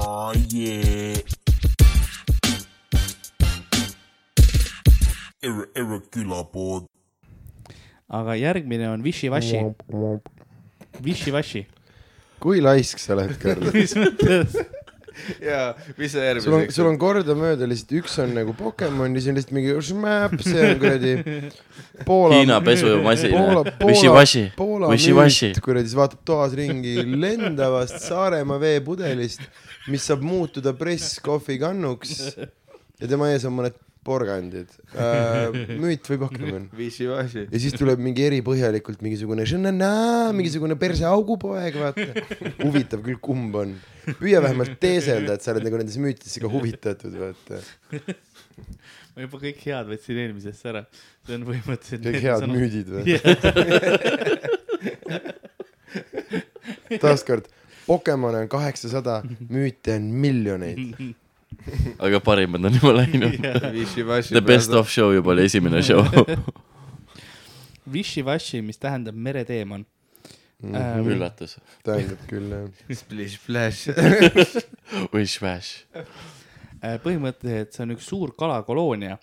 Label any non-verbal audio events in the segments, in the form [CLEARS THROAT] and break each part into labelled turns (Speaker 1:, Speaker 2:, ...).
Speaker 1: Oh yeah. Irre, irre külapood .
Speaker 2: aga järgmine on Wishy-Washy , Wishy-Washy .
Speaker 3: kui laisk sa oled , Karl .
Speaker 2: mis mõttes ?
Speaker 4: jaa , mis see
Speaker 3: sul on ,
Speaker 4: järgmiseks
Speaker 3: sul ? on kordamööda lihtsalt , üks on nagu Pokemon ja siis on lihtsalt mingi šmäp , see on kuradi
Speaker 4: Hiina
Speaker 3: Poola ,
Speaker 4: pesumasin
Speaker 3: Poola , Poola
Speaker 4: Wishy-washy ,
Speaker 3: Poola
Speaker 4: Wishy-washy
Speaker 3: müüt , kuradi , siis vaatab toas ringi lendavast Saaremaa veepudelist , mis saab muutuda presskohvikannuks ja tema ees on mõned porgandid uh, . müüt või Pokemon ?
Speaker 4: Wishy-washy .
Speaker 3: ja siis tuleb mingi eripõhjalikult mingisugune ženana, mingisugune perseaugupoeg , vaata . huvitav küll , kumb on . püüa vähemalt teeselda , et sa oled nagu nendesse müütidesse ka huvitatud , vaata .
Speaker 2: ma juba kõik head võtsin eelmisesse ära . see on põhimõtteliselt .
Speaker 3: kõik head
Speaker 2: sõnum.
Speaker 3: müüdid või ?
Speaker 2: Jah,
Speaker 3: taaskord , Pokemone on kaheksasada , müüte on miljoneid .
Speaker 4: aga parimad on juba läinud .
Speaker 2: jah.
Speaker 4: The best of show juba oli esimene show .
Speaker 2: Wishy-Washy , mis tähendab Ehm, mereteemon .
Speaker 3: Mhm,
Speaker 4: üllatus .
Speaker 3: tähendab küll , jah .
Speaker 4: Splish
Speaker 5: [LAUGHS]
Speaker 4: splash . Wish-wash .
Speaker 2: äh, põhimõtteliselt see on üks suur kalakoloonia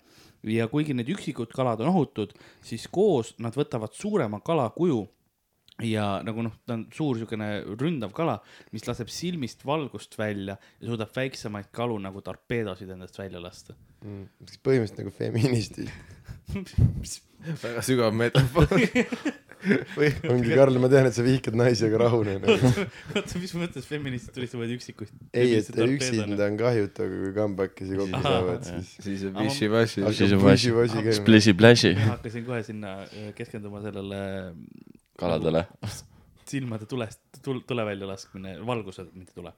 Speaker 2: ja kuigi need üksikud kalad on ohutud , siis koos nad võtavad suurema kala kuju ja nagu noh , ta on suur siukene ründav kala , mis laseb silmist valgust välja ja suudab väiksemaid kalu nagu torpeedosid endast välja lasta . [LAUGHS]
Speaker 3: mm. põhimõtteliselt nagu feministid .
Speaker 4: väga sügav
Speaker 3: [LAUGHS]
Speaker 4: metafoor .
Speaker 3: ongi , Karl , ma tean , et sa vihkad naisi , aga rahune .
Speaker 2: oota , mis mõttes feministid tulistavad üksikuid ?
Speaker 3: ei , et üksinda on kahjutu , aga kui kambakesi kokku saavad , siis
Speaker 4: siis on
Speaker 2: Wishy-washy.
Speaker 4: Siis on
Speaker 3: hakkab
Speaker 4: Wishy-
Speaker 3: pusi-vosi käima .
Speaker 4: Splish-splashi
Speaker 2: ma hakkasin kohe sinna äh, keskenduma sellele mm,
Speaker 4: kaladele .
Speaker 2: silmade tulest , tul- , tule välja laskmine , valgused , mitte tule .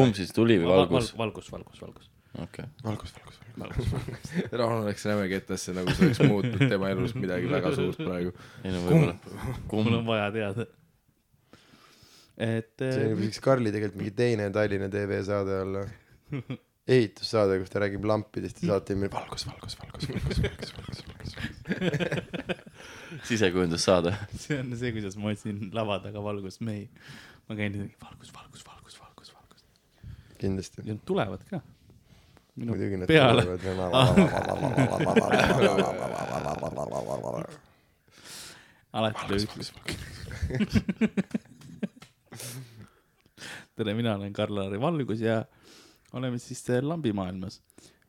Speaker 4: kumb siis , tuli või valgus ?
Speaker 2: valgus , valgus , valgus .
Speaker 4: okei .
Speaker 3: valgus , valgus , valgus .
Speaker 5: Raul läks rämekettasse , nagu see oleks muutnud tema elus midagi väga suurt praegu .
Speaker 4: ei no võib-olla .
Speaker 2: mul
Speaker 4: kumb ?
Speaker 2: on vaja teada . et
Speaker 3: see
Speaker 2: äh,
Speaker 3: võiks Karli tegelikult mingi teine Tallinna TV saade olla . ehitussaade , kus ta räägib lampidest ja saate nimi Valgus , valgus , valgus , valgus , valgus , valgus , valgus , valgus .
Speaker 4: sisekujundus saada .
Speaker 2: [LAUGHS] see on see , kuidas ma otsin lava taga valgust mehi . ma käin nii , valgus , valgus , valgus , valgus , valgus .
Speaker 3: kindlasti .
Speaker 2: ja nad tulevad ka . minu
Speaker 3: muidugi nad
Speaker 2: peale .
Speaker 3: tulevad .
Speaker 2: alati lööb üks . [LAUGHS] tere , mina olen Karl-Lari Valgus ja oleme siis äh, lambimaailmas .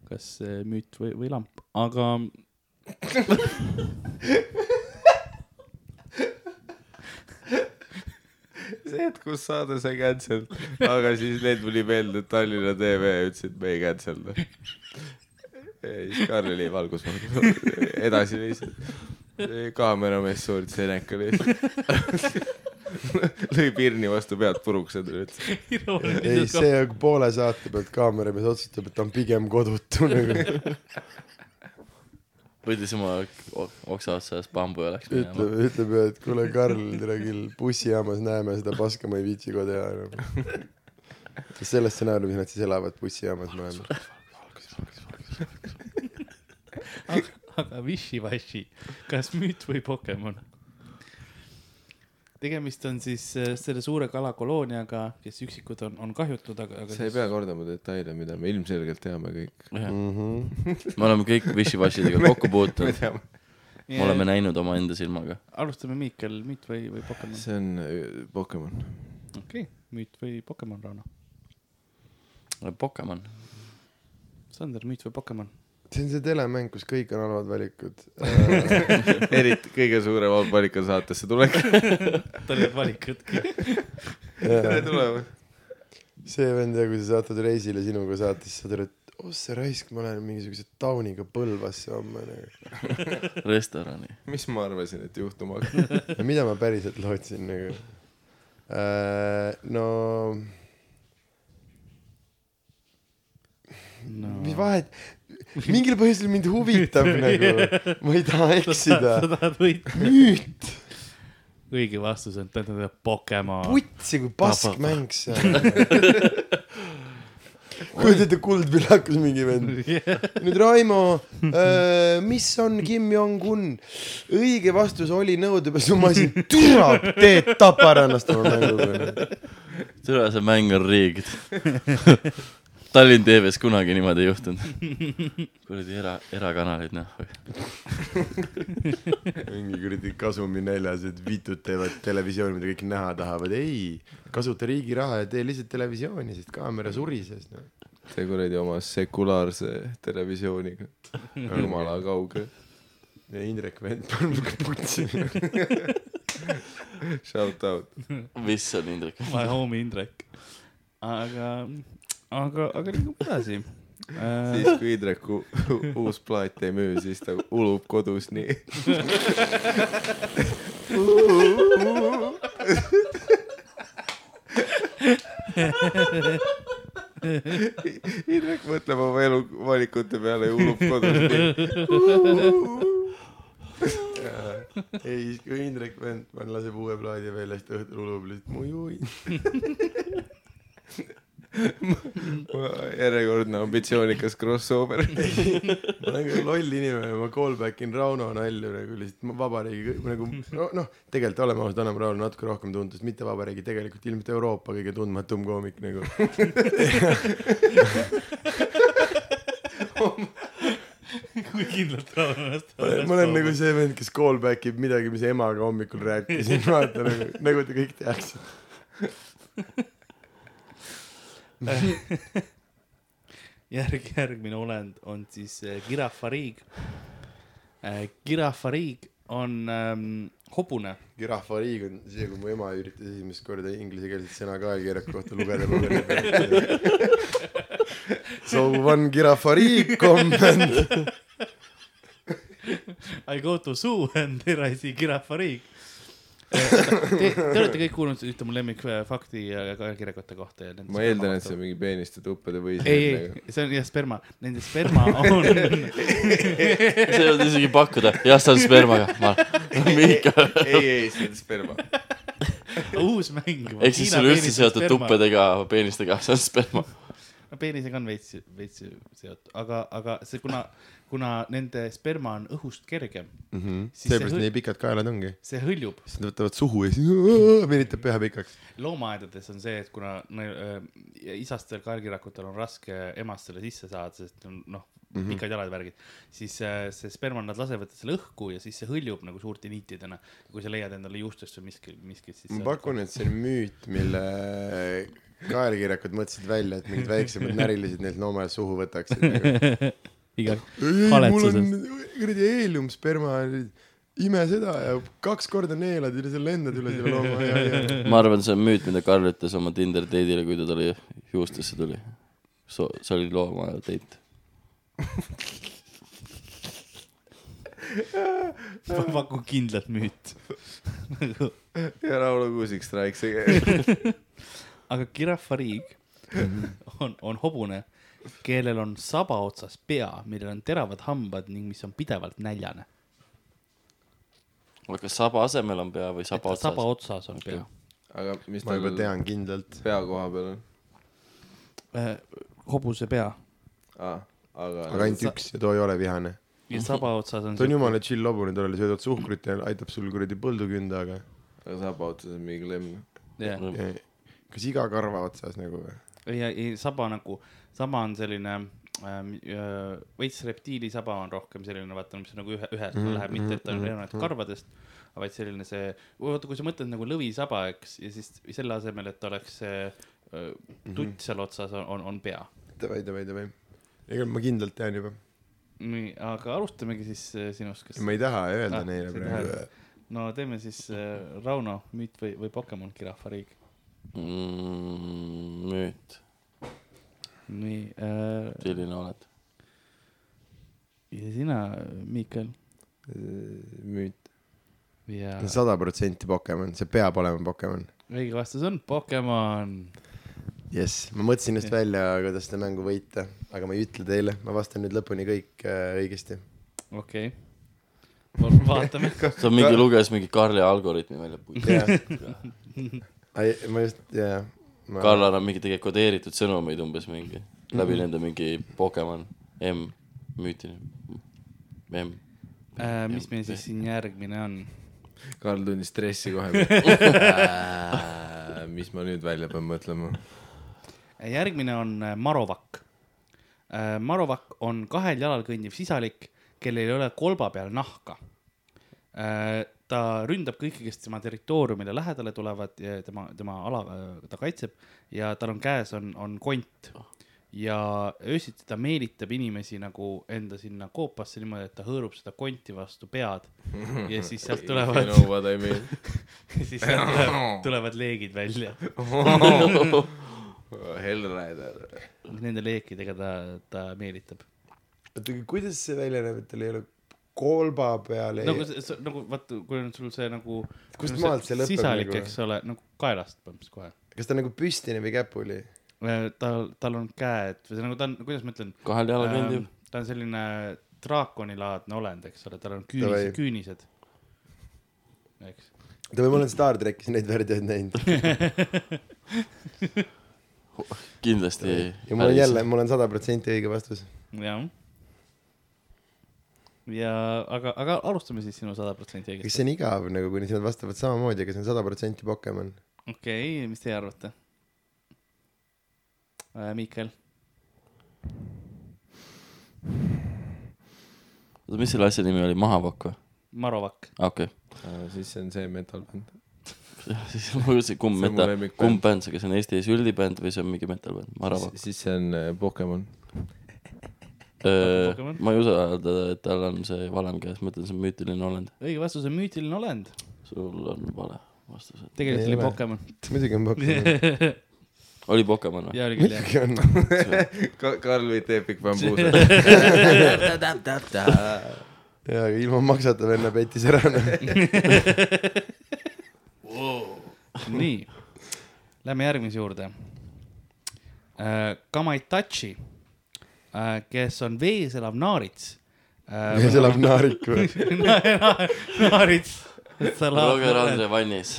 Speaker 2: kas äh, müüt või , või lamp , aga . [LAUGHS]
Speaker 4: see hetk , kus saade sai cancel , aga siis need tuli meelde , et Tallinna TV ütles , et me ei cancelda . siis Karl oli valgus , edasi lihtsalt . kaameramees suurt seneka lihtsalt . lõi pirni vastu pead puruks ja tuli ütles ,
Speaker 3: ei , see on poole saate pealt kaameramees otsustab , et ta on pigem kodutu nagu .
Speaker 4: võttis oma o- oksa otsast bambu ja läks
Speaker 3: ütleb
Speaker 4: minema .,
Speaker 3: ütleb , et kuule , Karl , tere küll , bussijaamas näeme seda paska , ma ei viitsi koju teha enam . selles stsenaariumis nad siis elavad bussijaamas mõlemad .
Speaker 2: [LAUGHS] aga Wishy-Washy , kas müüt või Pokemon ? tegemist on siis äh, selle suure kalakolooniaga , kes üksikud on , on kahjutud , aga , aga
Speaker 5: sa ei
Speaker 2: siis
Speaker 5: pea kordama detaile , mida me ilmselgelt teame kõik .
Speaker 4: me oleme kõik wishy-washidega kokku puutunud ,
Speaker 2: Nii,
Speaker 4: me oleme näinud omaenda silmaga .
Speaker 2: alustame Miikel , müüt või , või Pokemon ?
Speaker 5: see on öö, Pokemon .
Speaker 2: okei okay. , müüt või Pokemon , Rauno ?
Speaker 4: Pokemon ,
Speaker 2: Sander , müüt või Pokemon ?
Speaker 3: see on see telemäng , kus kõik on halvad
Speaker 5: [LAUGHS]
Speaker 3: valikud . Äh,
Speaker 5: eriti kõige suurem halb valik on saatesse tulek .
Speaker 2: tal ei olnud valikut .
Speaker 5: tere tulemast .
Speaker 3: see vend ja kui sa saatud reisile sinuga saates , sa tuled , oh see raisk , ma lähen mingisuguse tauniga Põlvasse homme nagu .
Speaker 4: restorani .
Speaker 5: mis ma arvasin , et juhtuma hakkab ?
Speaker 3: mida ma päriselt lootsin nagu äh, ? no
Speaker 2: no
Speaker 3: mis vahet , mingil põhjusel mind huvitab nagu , ma ei taha
Speaker 2: [LAUGHS]
Speaker 3: eksida .
Speaker 2: sa tahad võita ?
Speaker 3: müüt ,
Speaker 2: õige vastus on , ta on Pokemon .
Speaker 3: putsi kui paskmäng see on . kujuta ette , kuldvillakus mingi vend . nüüd Raimo , mis on Kim Jong-un ? õige vastus oli nõudepesumasin . türa , Teet tapar ennast oma mänguga .
Speaker 6: türa , see mäng on riig . [LAUGHS] Tallinn TV-s kunagi niimoodi ei juhtunud .
Speaker 2: [LAUGHS]
Speaker 6: kuradi era , erakanalid noh .
Speaker 3: mingi kuradi kasumi näljas , et vitud teevad televisiooni , mida kõik näha tahavad . ei , kasuta riigi raha ja tee lihtsalt televisiooni , sest kaamera surises no. .
Speaker 5: see kuradi oma sekulaarse televisiooniga , jumala kauge .
Speaker 3: ja Indrek vend paneb putsi .
Speaker 4: Shout out .
Speaker 6: mis on Indrek ?
Speaker 2: My homie Indrek . aga , aga , aga liigume edasi .
Speaker 5: siis kui Indreku uus plaat ei müü , siis ta ulub kodus nii .
Speaker 4: Indrek mõtleb oma elu valikute peale ja hullub kodus .
Speaker 3: ei , siis kui Indrek vend pan- laseb uue plaadi välja , siis ta õhtul ulub lihtsalt mu juhi .
Speaker 4: järjekordne ambitsioonikas crossover .
Speaker 3: ma olen küll loll inimene , ma call back in Rauno nalju nagu lihtsalt ma vabariigi ma nagu no, noh , tegelikult oleme ausad , anname Raunole natuke rohkem tuntust , mitte vabariigi , tegelikult ilmselt Euroopa kõige tundmatum koomik nagu .
Speaker 2: Äh, kui kindlalt Raul ennast
Speaker 3: ma olen nagu see vend , kes call back ib midagi , mis emaga hommikul rääkisin , [LAUGHS] vaata nagu , nagu te kõik teaksite .
Speaker 2: [LAUGHS] järg , järgmine olend on siis äh, girafariig äh, . girafariig on ähm, hobune .
Speaker 3: Girafariig on see , kui mu ema üritas esimest korda inglisekeelset sõna kaelkirjaku kohta lugeda , ma olin nagu . So one girafariig comment .
Speaker 2: I go to zoo [LAUGHS] and there I see girafariig . Te, te olete kõik kuulnud ühte mu äh, lemmikfakti kirjakute kohta ja .
Speaker 5: ma eeldan , et see on mingi peeniste tuppade või .
Speaker 2: ei , ei , see on jah sperma , nende sperma on
Speaker 6: see ei olnud isegi pakkuda , jah , see on spermaga , ma , [LAUGHS] Mihkel ,
Speaker 4: [LAUGHS] ei , ei , see on
Speaker 5: [LAUGHS]
Speaker 4: sperma .
Speaker 2: [LAUGHS] uus mäng .
Speaker 6: ehk siis sul üldse seotud . tuppedega , peenistega , see on sperma .
Speaker 2: no peenisega on veits , veits seotud , aga , aga see , kuna , kuna nende sperma on õhust kergem mm , -hmm. siis see,
Speaker 3: Mhm. seepärast
Speaker 2: hõl,
Speaker 3: nii pikad kaelad ongi .
Speaker 2: see hõljub .
Speaker 3: siis nad võtavad suhu ja siis venitab pea pikaks .
Speaker 2: loomaaedades on see , et kuna neil, äh, isastel kaelkirjakutel on raske emast selle sisse saada , sest on, noh mm -hmm. , pikad jalad ja värgid , siis äh, see sperma , nad lasevad selle õhku ja siis see hõljub nagu suurte niitidena . kui sa leiad endale juustest või miski , miskit , siis .
Speaker 3: ma pakun , et see on müüt , mille kaelkirjakud mõtlesid välja , et mingid
Speaker 2: [LAUGHS]
Speaker 3: väiksemad närilised neilt noomajas suhu võtaksid nagu. .
Speaker 2: igal
Speaker 3: ei , mul on
Speaker 2: kaletsuses .
Speaker 3: kuradi heeliumsperma , ime seda ja kaks korda neelad ja sa lendad üle selle looma .
Speaker 6: ma arvan , see on müüt , mida Karl ütles oma Tinder date'ile , kui ta tuli juustesse tuli . So- , see oli loomaaia date .
Speaker 2: ma [LAUGHS] pakun kindlalt müüt . [LAUGHS]
Speaker 4: ja Rauno Kuusik Strike [LAUGHS] see .
Speaker 2: aga kirafariig on , on hobune , kellel on saba otsas pea , millel on teravad hambad ning mis on pidevalt näljane .
Speaker 6: aga kas saba asemel on pea või saba otsas
Speaker 2: saba
Speaker 6: saba... ?
Speaker 2: otsas on pea .
Speaker 5: aga mis
Speaker 3: ma
Speaker 5: tal
Speaker 3: juba tean kindlalt .
Speaker 5: pea koha peal on
Speaker 2: Äh, hobuse pea
Speaker 5: ah, ? aga,
Speaker 3: aga ainult üks ja too ei ole vihane .
Speaker 2: ja saba otsas on
Speaker 3: ta on . jumala chill hobune , tal oli söödud suhkrut ja aitab sul kuradi põldu künda , aga
Speaker 5: aga saba otsas on mingi klemm .
Speaker 2: ja ,
Speaker 3: Eh, kas iga karva otsas nagu või ?
Speaker 2: ja, ja saba nagu , saba on selline ähm, äh, veits reptiili saba on rohkem selline , vaata , mis nagu ühe , ühe mm, läheb , mitte et ta on erinevat karvadest , vaid selline see , vaata , kui sa mõtled nagu lõvisaba , eks , ja siis selle asemel , et oleks see äh, tutt seal otsas , on, on , on pea
Speaker 3: davai , davai , davai . ega ma kindlalt tean juba .
Speaker 2: nii , aga alustamegi siis äh, sinust , kes .
Speaker 3: ma ei taha
Speaker 2: Ah,
Speaker 3: öelda ah, neile
Speaker 2: sa ei
Speaker 3: praegu .
Speaker 2: no teeme siis äh, Rauno müüt või , või Pokemon Girafariig .
Speaker 6: Mm, müüt ,
Speaker 2: nii äh,
Speaker 6: selline oled .
Speaker 2: ja sina , Miikael
Speaker 5: müüt .
Speaker 2: ja
Speaker 3: sada protsenti Pokemon , see peab olema Pokemon .
Speaker 2: õige vastus on Pokemon .
Speaker 3: jess , ma mõtlesin just välja , kuidas seda mängu võita , aga ma ei ütle teile , ma vastan nüüd lõpuni kõik äh, õigesti .
Speaker 2: okei okay. , vaatame .
Speaker 6: ta mingi luges mingi Karli algoritmi välja .
Speaker 3: jah , ma just , jah .
Speaker 6: Karl annab mingi tegelikult kodeeritud sõnumeid umbes mingi . läbi nende mingi Pokemon M müütiline . M .
Speaker 2: äh, . mis meil siis siin järgmine on ?
Speaker 5: Karl tundis stressi [LAUGHS] kohe . mis ma nüüd välja pean mõtlema ?
Speaker 2: järgmine on äh, marovakk äh, . marovakk on kahel jalal kõndiv sisalik , kellel ei ole kolba peal nahka äh, . ta ründab kõiki , kes tema territooriumile lähedale tulevad , tema , tema ala äh, ta kaitseb ja tal on käes on , on kont ja öösiti ta meelitab inimesi nagu enda sinna koopasse niimoodi , et ta hõõrub seda konti vastu pead ja siis sealt
Speaker 5: [LAUGHS] You
Speaker 2: tulevad ,
Speaker 5: know what I [LAUGHS] mean .
Speaker 2: [LAUGHS] siis sealt
Speaker 5: [LAUGHS]
Speaker 2: tulevad- tulevad leegid välja .
Speaker 5: Oh,
Speaker 4: Hellrider .
Speaker 2: Nende leekidega ta , ta meelitab
Speaker 3: oota , aga kuidas see välja näeb , et tal ei ole kolba peal ei...
Speaker 2: nagu see, see nagu vaata , kui on sul see nagu .
Speaker 3: Kust maalt see lõpeb
Speaker 2: sisalik
Speaker 3: nagu? ,
Speaker 2: eks ole , nagu kaelast põhimõtteliselt kohe .
Speaker 3: kas ta on nagu püstine või käpuli ?
Speaker 2: tal , tal on käed või see nagu ta on , kuidas ma ütlen .
Speaker 6: kahel jalal kõndiv .
Speaker 2: ta on selline draakonilaadne olend , eks ole , tal on küünised
Speaker 3: Davai. ,
Speaker 2: küünised . eks ,
Speaker 3: oota , või ma olen Star trackis neid värdjaid näinud
Speaker 6: kindlasti .
Speaker 3: ja mul on jälle , mul on sada protsenti õige vastus .
Speaker 2: jah ja aga , aga alustame siis sinu sada protsenti
Speaker 3: kas
Speaker 2: õigesti .
Speaker 3: see on igav nagu , kui nad vastavad samamoodi , aga see on sada protsenti Pokemon ?
Speaker 2: okei okay, , mis teie arvate äh, ? Miikael ,
Speaker 6: oota , mis selle asja nimi oli , mahavakk või ?
Speaker 2: Marovakk ,
Speaker 6: aa , okei . [LAUGHS]
Speaker 5: siis see on see metal-bänd .
Speaker 6: jah , siis ma mõtlesin , kumb
Speaker 5: See on mu
Speaker 6: metal ,
Speaker 5: lemmikbänd.
Speaker 6: kumb bänd see , kas see on Eesti süldibänd või see on mingi metal-bänd , maravakk .
Speaker 5: siis see on äh, Pokemon .
Speaker 2: Pokemon.
Speaker 6: ma ei usalda , et tal on see valem käes , ma ütlen , see on müütiline olend .
Speaker 2: õige vastus on müütiline olend ,
Speaker 6: sul on vale vastus .
Speaker 2: tegelikult
Speaker 3: Ei
Speaker 2: oli
Speaker 3: ole.
Speaker 2: Pokemon .
Speaker 3: muidugi on Pokemon .
Speaker 6: oli Pokemon või ?
Speaker 2: ja oli küll jah .
Speaker 3: muidugi on .
Speaker 4: Karl või teeb pikk
Speaker 5: [LAUGHS]
Speaker 4: bambuus .
Speaker 3: jaa , aga ilma maksata venna petis ära . noh.
Speaker 2: nii , lähme järgmise juurde . Kamaitachi , kes on vees elav naarits . Äh,
Speaker 3: ja see
Speaker 2: [LAUGHS]
Speaker 3: elab naarik või ?
Speaker 2: naarits .
Speaker 6: Roger
Speaker 2: [LAUGHS]
Speaker 6: Andre vannis .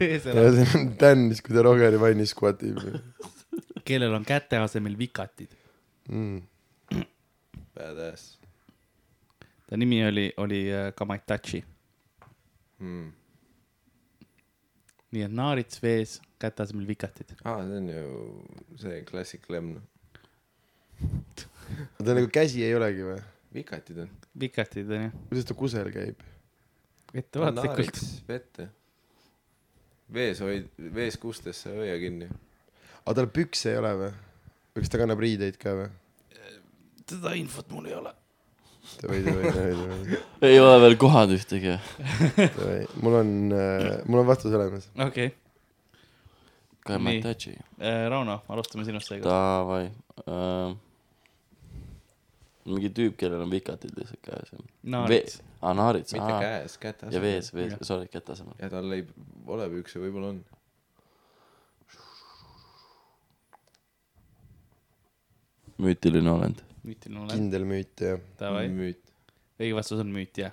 Speaker 2: vees
Speaker 3: ja
Speaker 2: elav ,
Speaker 3: see on tännis , kui ta Rogeri vannis squatib
Speaker 2: kellel on käte asemel vikatid .
Speaker 3: mm. .
Speaker 5: Badass .
Speaker 2: ta nimi oli , oli äh, Kamaitachi .
Speaker 5: Hmm.
Speaker 2: nii et naarits vees , käte asemel vikatid .
Speaker 5: aa , see on ju see klassik lemm .
Speaker 3: ta nagu käsi ei olegi või ?
Speaker 5: vikatid on .
Speaker 2: vikatid on jah ,
Speaker 3: kuidas ta kusel käib ?
Speaker 2: ettevaatlikult .
Speaker 5: vette . vees hoid , vees kustesse hoia kinni .
Speaker 3: aga tal pükse ei ole või ? või kas ta kannab riideid ka või ?
Speaker 2: seda infot mul ei ole .
Speaker 3: davai , davai , davai , davai ,
Speaker 6: ei ole veel kohanud ühtegi .
Speaker 3: davai . mul on äh, , mul on vastus olemas .
Speaker 2: okei okay. ,
Speaker 6: Kamatachi ,
Speaker 2: Rauno , alustame sinust seekord .
Speaker 6: davai uh, . mingi tüüp , kellel on vikatid lihtsalt käes .
Speaker 2: naarits ..
Speaker 6: aa , naarits ,
Speaker 5: mitte
Speaker 6: aa .
Speaker 5: käes , käte
Speaker 6: ja vees , vees
Speaker 2: Jah. ,
Speaker 6: sorry , käte asemel .
Speaker 5: ja tal ei ole pükse , võib-olla on .
Speaker 6: müütiline olend .
Speaker 2: müütiline olend ,
Speaker 3: kindel müüt jah .
Speaker 2: davai .
Speaker 5: müüt .
Speaker 2: õige vastus on müüt , jah .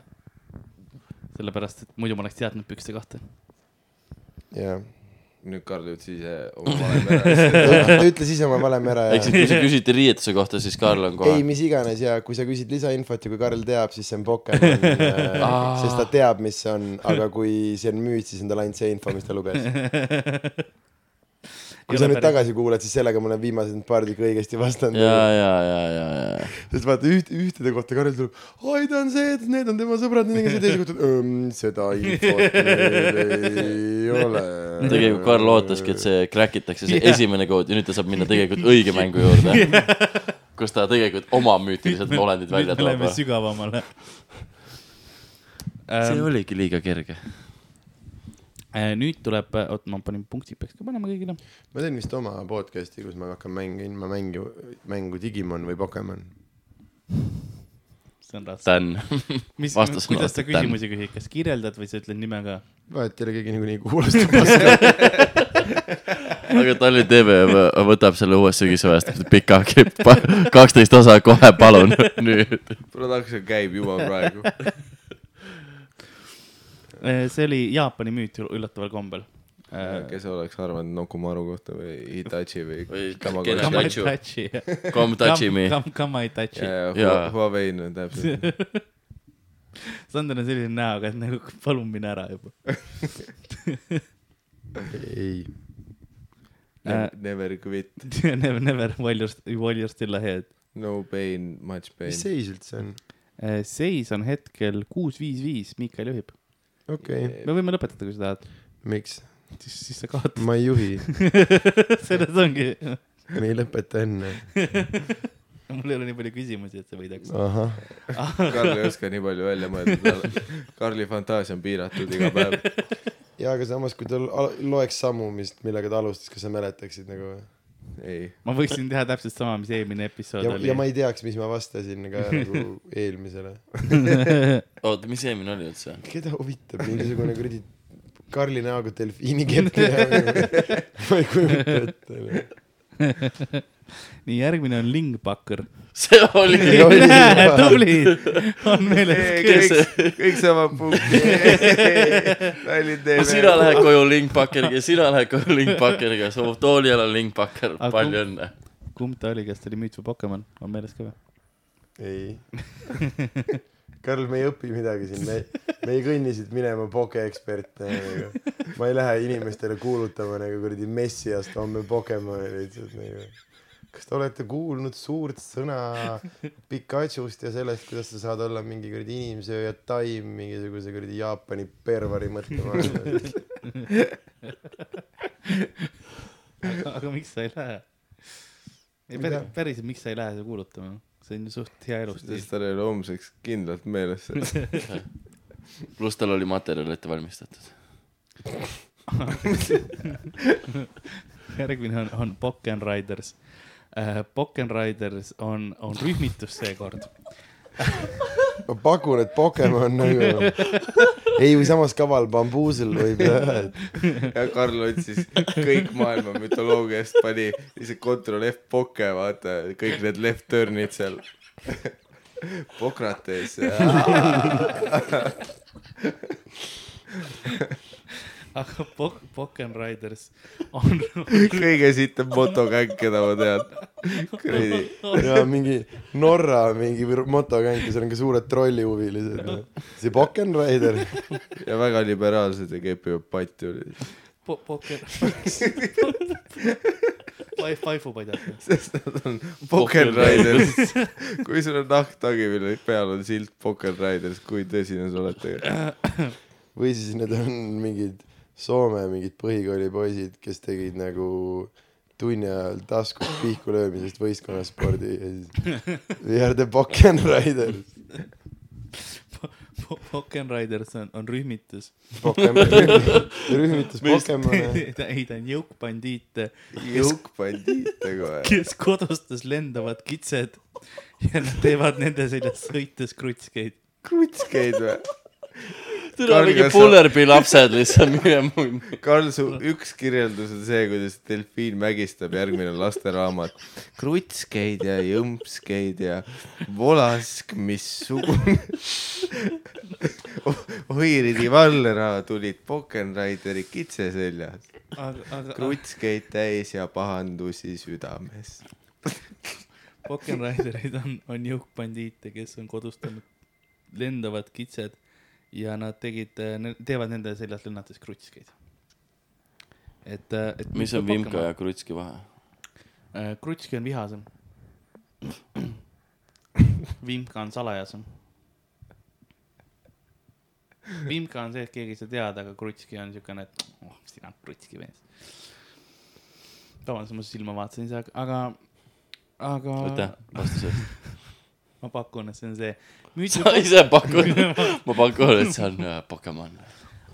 Speaker 2: sellepärast , et muidu ma oleks teadnud pükste kohta .
Speaker 3: jah .
Speaker 5: nüüd Karl jõudis ise oma valemi ära . [LAUGHS]
Speaker 3: ta ütles ise oma valemi ära
Speaker 6: ehk siis ,
Speaker 3: ja
Speaker 6: kui sa küsiti riietuse kohta , siis Karl on
Speaker 3: ei ,
Speaker 6: kohe .
Speaker 3: mis iganes ja kui sa küsid lisainfot ja kui Karl teab , siis see on Pokemon äh, , sest ta teab , mis see on , aga kui see on müüt , siis on tal ainult see info , mis ta luges . kui sa nüüd tagasi kuulad , siis sellega ma olen viimased paar tükki õigesti vastanud .
Speaker 6: ja , ja , ja , ja , ja .
Speaker 3: sest vaata üht , ühtede kohta Karel tuleb , oi ta on see , need on tema sõbrad , nii see teise kohta , seda infot meil [LAUGHS] ei ole .
Speaker 6: tegelikult Karl ootaski , et see crack itakse , see yeah. esimene kood ja nüüd ta saab minna tegelikult õige mängu juurde yeah. . kus ta tegelikult oma müütilised olendid välja
Speaker 2: nüüd me
Speaker 6: toob
Speaker 2: läheme . [LAUGHS] sügavamale . Ähm,
Speaker 6: see oligi liiga kerge .
Speaker 2: äh, nüüd tuleb , oot , ma panin punktid , peaks ka panema kõigile .
Speaker 3: ma teen vist oma podcast'i , kus ma hakkan mängima mängu , mängu Digimon või Pokemon .
Speaker 2: see on raske .
Speaker 6: Dan .
Speaker 2: mis ,
Speaker 6: vastus on
Speaker 2: kuidas sa
Speaker 6: alati tänn.
Speaker 2: küsimusi küsid , kas kirjeldad või sa ütled nime ka ?
Speaker 3: vahet ei ole , keegi niikuinii [LAUGHS] kuulas .
Speaker 6: aga Tallinn TV võ- võtab selle uuest sügisõest pika , kaksteist osa kohe , palun , nüüd .
Speaker 4: Production käib juba praegu .
Speaker 2: Äh, see oli Jaapani müüt üll- üllataval kombel . Äh,
Speaker 5: kes oleks arvanud Nokumaru kohta või Hitachi või,
Speaker 6: Või
Speaker 5: Kamagoshi.
Speaker 6: Kena-
Speaker 2: Come and
Speaker 6: Touch you.
Speaker 2: touch
Speaker 6: [LAUGHS]
Speaker 2: you.
Speaker 6: Come touch me .
Speaker 2: Come , come and touch you .
Speaker 5: ja , ja
Speaker 6: Jaa.
Speaker 5: Huawei nüüd täpselt .
Speaker 2: Sander on selline näoga , et nagu palun mine ära juba . [LAUGHS]
Speaker 3: ei ,
Speaker 2: Äh.
Speaker 5: Never quit ,
Speaker 2: Never , never while you are , while you are still ahead .
Speaker 5: no pain , much pain
Speaker 3: mis . seis üldse on ?
Speaker 2: Äh, seis on hetkel kuus , viis , viis , Miikael juhib .
Speaker 3: okei okay. ,
Speaker 2: me võime lõpetada , kui sa tahad .
Speaker 3: miks ?
Speaker 2: siis , siis sa kaotad .
Speaker 3: ma ei juhi ,
Speaker 2: [LAUGHS] selles ongi ,
Speaker 3: me ei lõpeta enne .
Speaker 2: mul ei ole nii palju küsimusi , et sa võidaks .
Speaker 3: ahah ,
Speaker 5: Karl ei oska nii palju välja mõelda , Karli fantaasia on piiratud iga päev .
Speaker 3: ja aga samas , kui ta al- loeks sammu , mis , millega ta alustas , kas sa mäletaksid nagu või ?
Speaker 5: ei ,
Speaker 2: ma võiksin teha täpselt sama , mis eelmine episood
Speaker 3: ja ,
Speaker 2: oli
Speaker 3: ja . ma ei teaks , mis ma vastasin [LAUGHS] ka nagu eelmisele .
Speaker 6: oota , mis eelmine oli üldse ?
Speaker 3: keda huvitab mingisugune kuradi Karli näoga delfiini kepp ? [LAUGHS] ma ei kujuta ette . noh.
Speaker 2: nii , järgmine on
Speaker 3: [LAUGHS]
Speaker 2: Lingbakker .
Speaker 6: see oli .
Speaker 2: tublid , on meeles .
Speaker 4: kõik , kõik sama punkt . Tallinn
Speaker 6: sina
Speaker 4: TV .
Speaker 6: lähed koju Linkbakkeriga , sina lähed koju Linkbakkeriga , su toolil on Linkbakker ,
Speaker 2: Aga-
Speaker 6: palju õnne .
Speaker 2: kumb ta oli , kas ta oli müüt või Pokemon , on meeles ka või ?
Speaker 3: ei . Karl , me ei õpi midagi siin , me , me ei kõnni siit minema pokeeksperte nagu. . ma ei lähe inimestele kuulutama nagu kuradi messiast homme Pokemoni lihtsalt nagu . kas te olete kuulnud suurt sõna Pikachust ja sellest , kuidas sa saad olla mingi kuradi inimsööja taim mingisuguse kuradi Jaapani pervari mõttema ?
Speaker 2: aga miks sa ei lähe ? ei
Speaker 3: Ei tea.
Speaker 2: päris , päriselt , miks sa ei lähe seda kuulutama ? see on ju suht hea elustiil
Speaker 5: sest . tal ei ole homseks kindlalt meeles .
Speaker 6: pluss tal oli materjal ette valmistatud .
Speaker 2: järgmine on , on Pokken Riders . Pokken Riders on , on rühmitus seekord .
Speaker 3: ma pakun , et Pokemon nagu , ei või samas kaval bambuusel võib jah , et
Speaker 5: ja Karl otsis kõik maailma mütoloogiast , pani lihtsalt control F poke , vaata kõik need left turn'id seal . [LAUGHS] Pokrates ,
Speaker 2: aga Pok- , Pokken Riders on , [LAUGHS]
Speaker 5: kõige sitem motogäng , keda ma tean . kuradi ,
Speaker 3: ja mingi Norra mingi vir- motokäng , seal on ka suured trollihuvilised . see Pokken Rider ,
Speaker 5: ja väga liberaalsed ja kepivad patju .
Speaker 2: po- , Pokken . [LAUGHS] Five , Five'u padjad .
Speaker 5: sest nad on Poker Riders . [LAUGHS] kui sul on nahktagi , mille peal on silt Poker Riders , kui tõsine sa oled tegelikult .
Speaker 3: [LAUGHS] või siis need on mingid Soome mingid põhikoolipoisid , kes tegid nagu tunni ajal taskus pihku löömisest võistkonnaspordi ja siis We are the Pokken Rider .
Speaker 2: Pokken Riders on , on rühmitus .
Speaker 3: rühmitus Pokemone .
Speaker 2: [LAUGHS] ei , ta on jõukbandiit
Speaker 5: jõukbandiite kohe .
Speaker 2: kes kodustas lendavad kitsed ja nad teevad nende seljas sõites krutskeid .
Speaker 5: krutskeid või ?
Speaker 6: tule
Speaker 5: Karl,
Speaker 6: mingi
Speaker 5: kas sa-
Speaker 6: pullerbi lapsed lihtsalt minema .
Speaker 5: Karl , su üks kirjeldus on see , kuidas delfiin mägistab , järgmine on lasteraamat . krutskeid ja jõmpskeid ja volask , missugune . Oiridi vallera tulid Poken Rideri kitse seljas ,
Speaker 2: aga , aga
Speaker 5: krutskeid täis ja pahandusi südames .
Speaker 2: Pokken Riderid on , on jõukbandiite , kes on kodustanud lendavad kitsed ja nad tegid , teevad nende seljas lennates krutskeid . et , et .
Speaker 6: mis on Vimka ja ? Krutski vahe ?
Speaker 2: krutski on vihasem . Vimka on salajasem . Vimka on see , et keegi ei saa teada , aga krutski on siukene , et oh , sina krutski mees . vabandust , ma su silma vaatasin , aga , aga .
Speaker 6: aitäh vastuse eest .
Speaker 2: ma pakun , et see on see .
Speaker 6: sa ise
Speaker 2: [LAUGHS]
Speaker 6: pakud , ma pakun , et see on äh, Pokemon .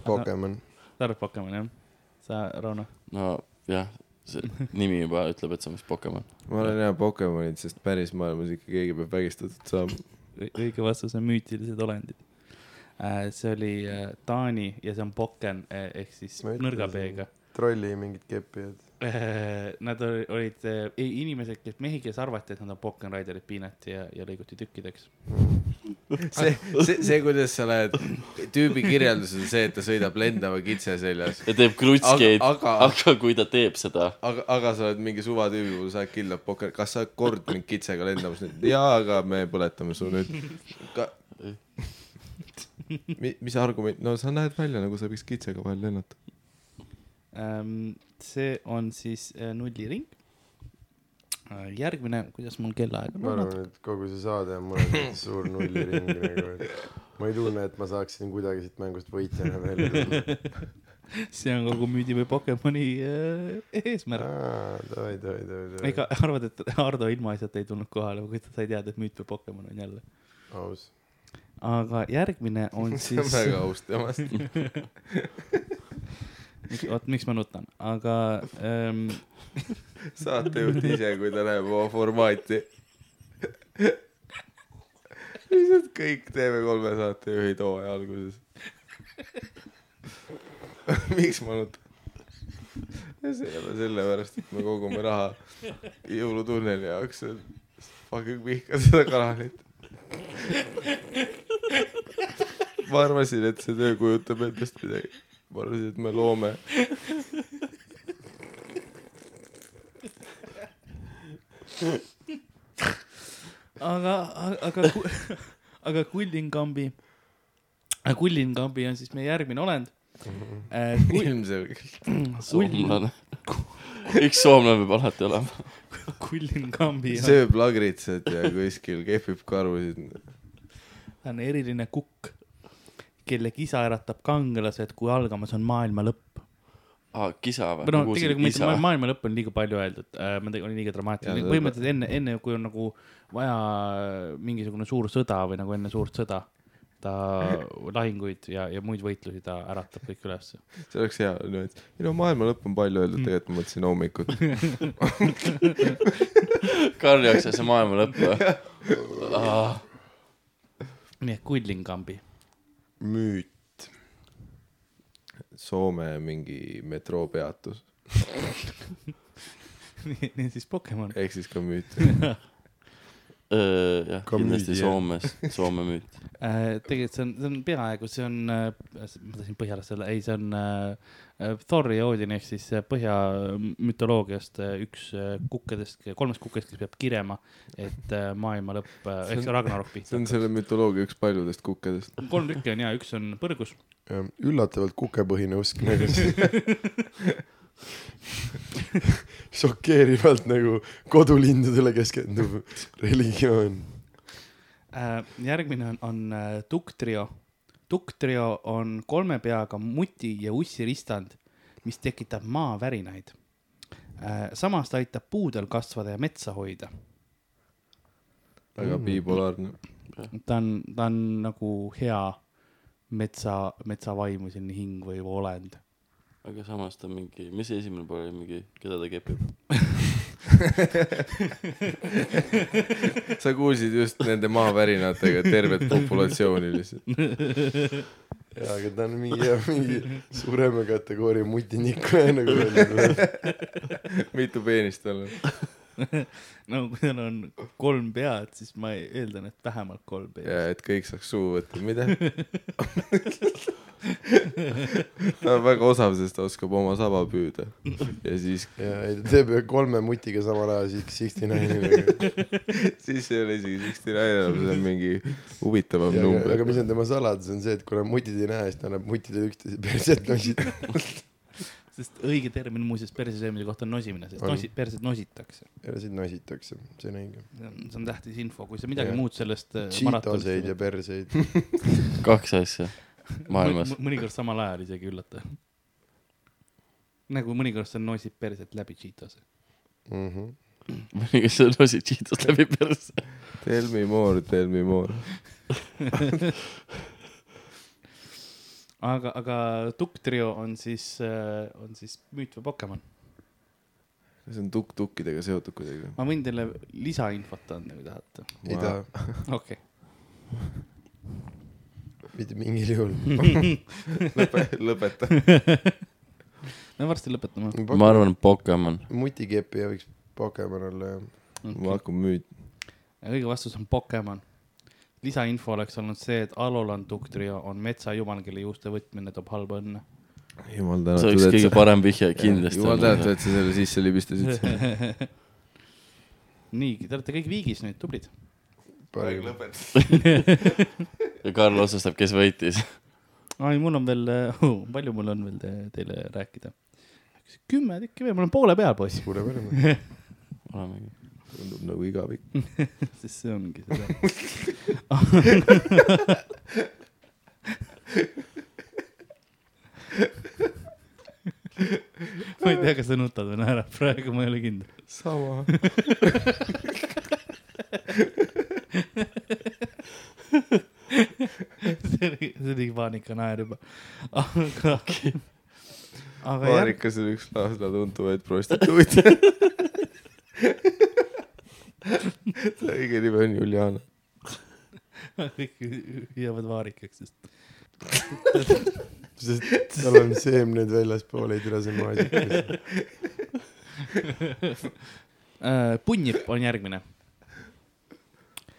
Speaker 3: Pokemon .
Speaker 2: tarb Pokemon jah ? sa , Rauno ?
Speaker 6: no jah , see nimi juba ütleb , et see on vist Pokemon .
Speaker 5: ma olen hea Pokemonid , sest päris maailmas ikka keegi peab vägistatud saama .
Speaker 2: õige vastus on müütilised olendid . see oli äh, Taani ja see on Pokken eh, ehk siis
Speaker 3: Ma ütlesin.
Speaker 2: nõrga B-ga .
Speaker 3: trolli mingit keppi , et
Speaker 2: Nad oli- olid eh, ei, inimesed , kes mehi , kes arvati , et nad on Pokken Riderit piinati ja , ja lõiguti tükkideks .
Speaker 5: [LAUGHS] see , see , see , kuidas sa lähed , tüübi kirjeldus on see , et ta sõidab lendava kitse seljas ,
Speaker 6: ja teeb krutskeid ,
Speaker 5: Aga-
Speaker 6: aga...
Speaker 5: aga-
Speaker 6: aga kui ta teeb seda ,
Speaker 5: aga , aga sa oled mingi suva tüübi puhul , sa oled killab pokker , kas sa oled kord mingi kitsega lendamas nüüd ? jaa , aga me põletame su nüüd Ka... . mis argument , no sa näed välja nagu sa võiks kitsega vahel lennata .
Speaker 2: Ähm, see on siis eh, nulliring . järgmine , kuidas mul kellaaeg
Speaker 3: ma
Speaker 2: on ?
Speaker 3: arvan , et kogu see saade on mõnes mõttes suur nulliring nagu , et ma ei tunne , et ma saaksin kuidagi siit mängust võitjana välja tulla .
Speaker 2: [LAUGHS] see on kogu müüdi või Pokemoni eh, eesmärk .
Speaker 3: davai , davai ,
Speaker 5: äh,
Speaker 3: davai ,
Speaker 2: ega [LAUGHS] arvad , et Hardo ilmaasjata ei tulnud kohale või kui ta sai teada , et müüt või Pokemon on jälle .
Speaker 3: davai , aus .
Speaker 2: aga järgmine
Speaker 5: [LAUGHS]
Speaker 2: on
Speaker 5: see on
Speaker 2: siis ,
Speaker 5: väga aus temast . [LAUGHS]
Speaker 2: oot , miks ma nutan , aga ähm,
Speaker 5: saatejuht ise , kui ta näeb oma formaati . lihtsalt kõik TV3 saatejuhid hooaja alguses . miks ma nutan ? sellepärast , et me kogume raha jõulutunneli jaoks . Fucking vihkan seda kanalit . ma arvasin , et see töö kujutab endast midagi . ma arvasin , et me loome
Speaker 2: aga , aga , [LAUGHS] aga Kullingambi , Kullingambi on siis meie järgmine olend . Äh,
Speaker 5: Mhm. [CLEARS THROAT]
Speaker 2: [CLEARS THROAT]
Speaker 5: ilmselgelt .
Speaker 2: Kull- , [LAUGHS]
Speaker 6: soomlane . üks soomlane peab alati olema .
Speaker 2: Kullingambi on,
Speaker 5: sööb lagritsat ja kuskil kehvib karvusid .
Speaker 2: ta on eriline kukk , kelle kisa äratab kangelased , kui algamas on maailma lõpp .
Speaker 6: aa , kisa või ?
Speaker 2: või noh , tegelikult mitte ma- maailma lõpp on liiga palju öeldud , ma tegin , oli liiga dramaatiline , põhimõtteliselt enne , enne kui on nagu vaja mingisugune suur sõda või nagu enne suurt sõda , [LAUGHS] ta lahinguid ja , ja muid võitlusi ta äratab kõik ülesse .
Speaker 5: see oleks hea nüanss . ei no maailma lõpp on palju öeldud , tegelikult ma mõtlesin hommikut .
Speaker 6: Karl jaoks sai see maailma lõpp või ?
Speaker 2: nii et Kullingambi ,
Speaker 5: müüt . Soome mingi metroopeatus ,
Speaker 2: [LAUGHS] nii siis Pokemon ,
Speaker 5: ehk siis ka müüt .
Speaker 6: jah , kindlasti Soomes , Soome müüt .
Speaker 2: Äh, tegelikult see on , see on peaaegu , see on , ma tahtsin põhjalast öelda , ei , see on äh, Thori ja Odin ehk siis äh, põhja mütoloogiast äh, üks äh, kukkedest , kolmest kukkest , kes peab kirema , et äh, maailma lõpp äh, ehk see Ragnarok pihta
Speaker 5: see on selle mütoloogia üks paljudest kukkedest .
Speaker 2: kolm tükki on ja üks on põrgus .
Speaker 3: üllatavalt kukepõhine usk nagu [LAUGHS] šokeerivalt nagu kodulindudele keskenduv religioon .
Speaker 2: Äh, järgmine on, on äh, tukktrio . tukktrio on kolme peaga muti ja ussi ristand , mis tekitab maavärinaid . samas ta aitab puudel kasvada ja metsa hoida .
Speaker 5: väga bipolaarne .
Speaker 2: ta on , ta on nagu hea metsa , metsavaimu selline hing või või olend . [LAUGHS]
Speaker 6: aga samas ta mingi , mis see esimene pool oli , mingi , keda ta kepib ?
Speaker 5: sa kuulsid just nende maavärinatega tervet populatsiooni lihtsalt .
Speaker 3: jaa , aga ta on mingi , mingi suurema kategooria mutinikuja nagu välja [LAUGHS] tuleb .
Speaker 5: mitu peenist tal on ?
Speaker 2: no kui tal on kolm pead , siis ma eeldan , et vähemalt kolm pead .
Speaker 5: ja et kõik saaks suu võtta ,
Speaker 3: [LAUGHS]
Speaker 5: mida ? ta on väga osav , sest ta oskab oma saba püüda ja siis ,
Speaker 3: ja ei ta teeb ühe kolme mutiga samal ajal siis Sixty Nine'iga .
Speaker 5: siis ei ole isegi Sixty Nine enam , see on mingi huvitavam
Speaker 3: aga, aga
Speaker 5: number .
Speaker 3: mis on tema saladus , on see , et kuna mutid ei näe , siis ta annab mutidele üksteise perset nosida .
Speaker 2: sest õige termin muuseas perse söömise kohta on nosimine , sest
Speaker 3: On.
Speaker 2: nosi- , perset nositakse .
Speaker 3: perseid nositakse , see on õige .
Speaker 2: see on see on tähtis info , kui sa midagi
Speaker 3: Jah.
Speaker 2: muud sellest äh,
Speaker 3: Cheetoseid ja
Speaker 2: maratonist-
Speaker 3: perseid .
Speaker 6: kaks asja maailmas
Speaker 2: Mõ- . mõ- mõnikord samal ajal isegi üllatav . nagu mõnikord sa noosid perset läbi Cheetose . [LAUGHS]
Speaker 3: Mhm.
Speaker 6: mõnikord sa lasid cheetast läbi persse .
Speaker 5: Tell me more , tell me more .
Speaker 2: aga , aga tukktrio on siis , on siis müüt või Pokemon .
Speaker 5: see on tukk-tukkidega seotud
Speaker 3: [LAUGHS]
Speaker 5: kuidagi .
Speaker 2: ma võin teile lisainfot anda , kui tahate .
Speaker 3: ei taha ,
Speaker 2: okei okay. ,
Speaker 3: mitte mingil juhul .
Speaker 5: lõpeta .
Speaker 2: no [LAUGHS] me varsti lõpetame .
Speaker 6: ma arvan , Pokemon .
Speaker 3: mutikepi võiks Pokemon olla jah .
Speaker 5: ma hakkan müüma .
Speaker 2: õige vastus on Pokemon . lisainfo oleks olnud see , et Alolanduktrio on metsajumal , kelle juuste võtmine toob halba õnne .
Speaker 5: jumal
Speaker 6: see
Speaker 5: tänatud ,
Speaker 6: oleks kõige
Speaker 5: et sa ,
Speaker 6: parem vihje kindlasti .
Speaker 5: jumal tänatud , et sa selle sisse
Speaker 6: [LAUGHS]
Speaker 5: libistasid .
Speaker 2: nii , te olete kõik viigis nüüd , tublid .
Speaker 3: parim .
Speaker 6: ja Karl otsustab , kes võitis .
Speaker 2: ai , mul on veel [LAUGHS] oh, , palju mul on veel te, teile rääkida ? kümme tükki veel , mul on poole peal , poiss .
Speaker 3: kuule , parem .
Speaker 5: tundub nagu igavik .
Speaker 2: [LAUGHS] sest see ongi seda . ma ei tea , kas sa nutad või naerad praegu , ma ei ole kindel . [LAUGHS]
Speaker 5: sama .
Speaker 2: see oli , see oli paanikanaer juba . aga , aga järg ,
Speaker 5: Marikas on üks Lasna tuntuvaid prostituute . [LAUGHS] ta õige nimi on Juliana .
Speaker 2: [LAUGHS] kõik jäävad vaarikaks , sest
Speaker 3: sest tal on seemned väljaspool , ei tule see maasikas .
Speaker 2: äh, . punnip on järgmine ,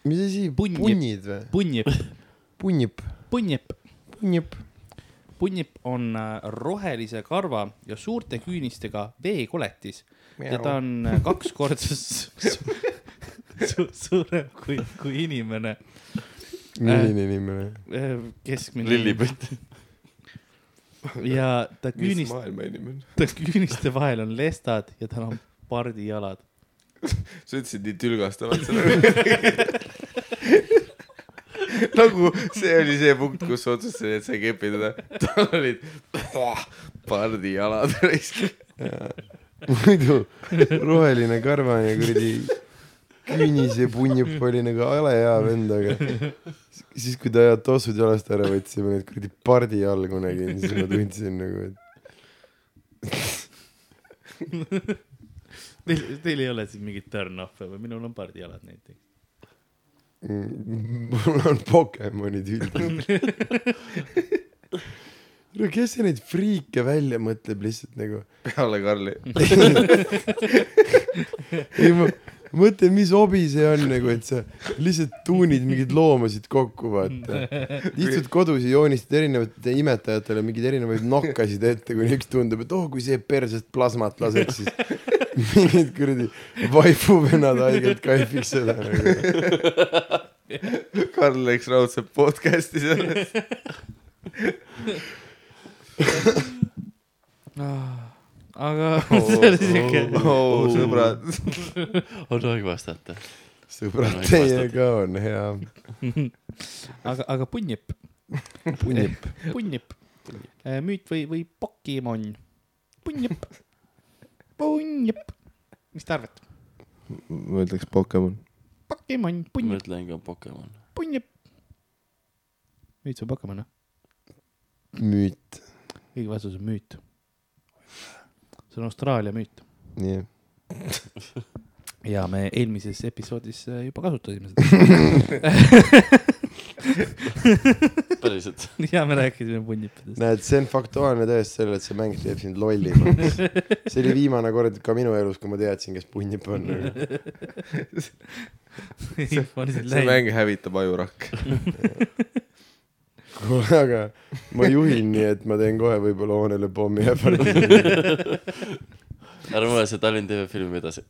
Speaker 3: mis asi ,
Speaker 2: Punnid.
Speaker 3: punnid või ?
Speaker 2: punnip ,
Speaker 3: punnip ,
Speaker 2: punnip ,
Speaker 3: punnip .
Speaker 2: punnip on äh, rohelise karva ja suurte küünistega veekoletis ja ta on äh, kaks korda su- su- su- suurem kui , kui inimene ,
Speaker 3: milline inimene ?
Speaker 2: keskmine .
Speaker 6: lillipütt .
Speaker 2: ja ta
Speaker 5: mis
Speaker 2: küünist ,
Speaker 5: maailma inimene ?
Speaker 2: ta küüniste vahel on lestad ja tal on pardijalad .
Speaker 5: sa ütlesid nii tülgastavalt seda .
Speaker 2: [LAUGHS]
Speaker 5: nagu see oli see punkt , kus sa otsustasid , et sa ei kepi teda . tal olid pardijalad [LAUGHS] raisk .
Speaker 3: muidu roheline karvane kuradi küünis ja punnip oli nagu jale hea vend , aga siis , kui ta tossud jalast ära võtsime , need kuradi pardi all kunagi , siis ma tundsin nagu , et
Speaker 2: Teil , teil ei ole siin mingit turn-off'e või minul on pardijalad näiteks .
Speaker 3: mm, mul on Pokemonid üldse . no kes see neid friike välja mõtleb lihtsalt nagu ,
Speaker 5: peale Karli .
Speaker 3: [LAUGHS] ei ma mõtlen , mis hobi see on nagu , et sa lihtsalt tuunid mingeid loomasid kokku , vaata . istud kodus ja joonistad erinevatele imetajatele mingeid erinevaid nokkasid ette , kuni üks tundub , et oh , kui see persest plasmat laseks , siis mingid kuradi vaipuvennad haigelt kaifiks seda nagu .
Speaker 5: Karl läks raudselt podcast'i sellest .
Speaker 2: Ah, aga [LAUGHS] [LAUGHS]
Speaker 5: Oh,
Speaker 2: see oli siuke , Oh,
Speaker 5: oo , oh, sõbrad .
Speaker 6: on aeg vastata .
Speaker 3: sõbrad , teie ka on hea .
Speaker 2: Mhm. aga , aga punnip ,
Speaker 3: punnip ,
Speaker 2: punnip , müüt või , või Pokemon , punnip , punnip , mis te arvate ?
Speaker 5: ma ütleks Pokemon .
Speaker 2: Pokemon ,
Speaker 6: ma
Speaker 2: punnip ,
Speaker 6: ütlen ka Pokemon .
Speaker 2: punnip . müüt või Pokemon , noh ?
Speaker 3: müüt ,
Speaker 2: õige vastus on müüt . see on Austraalia müüt
Speaker 3: nii .
Speaker 2: ja me eelmises episoodis äh, juba kasutasime [LAUGHS] seda . [LAUGHS]
Speaker 6: päriselt .
Speaker 2: ja me rääkisime punnipidest .
Speaker 3: näed , see on faktuaalne tõest sellele , et see mäng teeb sind lollimaks . see oli viimane kord ka minu elus , kui ma teadsin , kes punnip on .
Speaker 2: [LAUGHS] ma lihtsalt
Speaker 5: see
Speaker 2: läin ,
Speaker 5: mäng hävitab ajurakke .
Speaker 3: kuule , aga ma juhin nii , et ma teen kohe võib-olla hoonele pommi ähvarduse .
Speaker 6: ära mure , see Tallinn TV film edasi .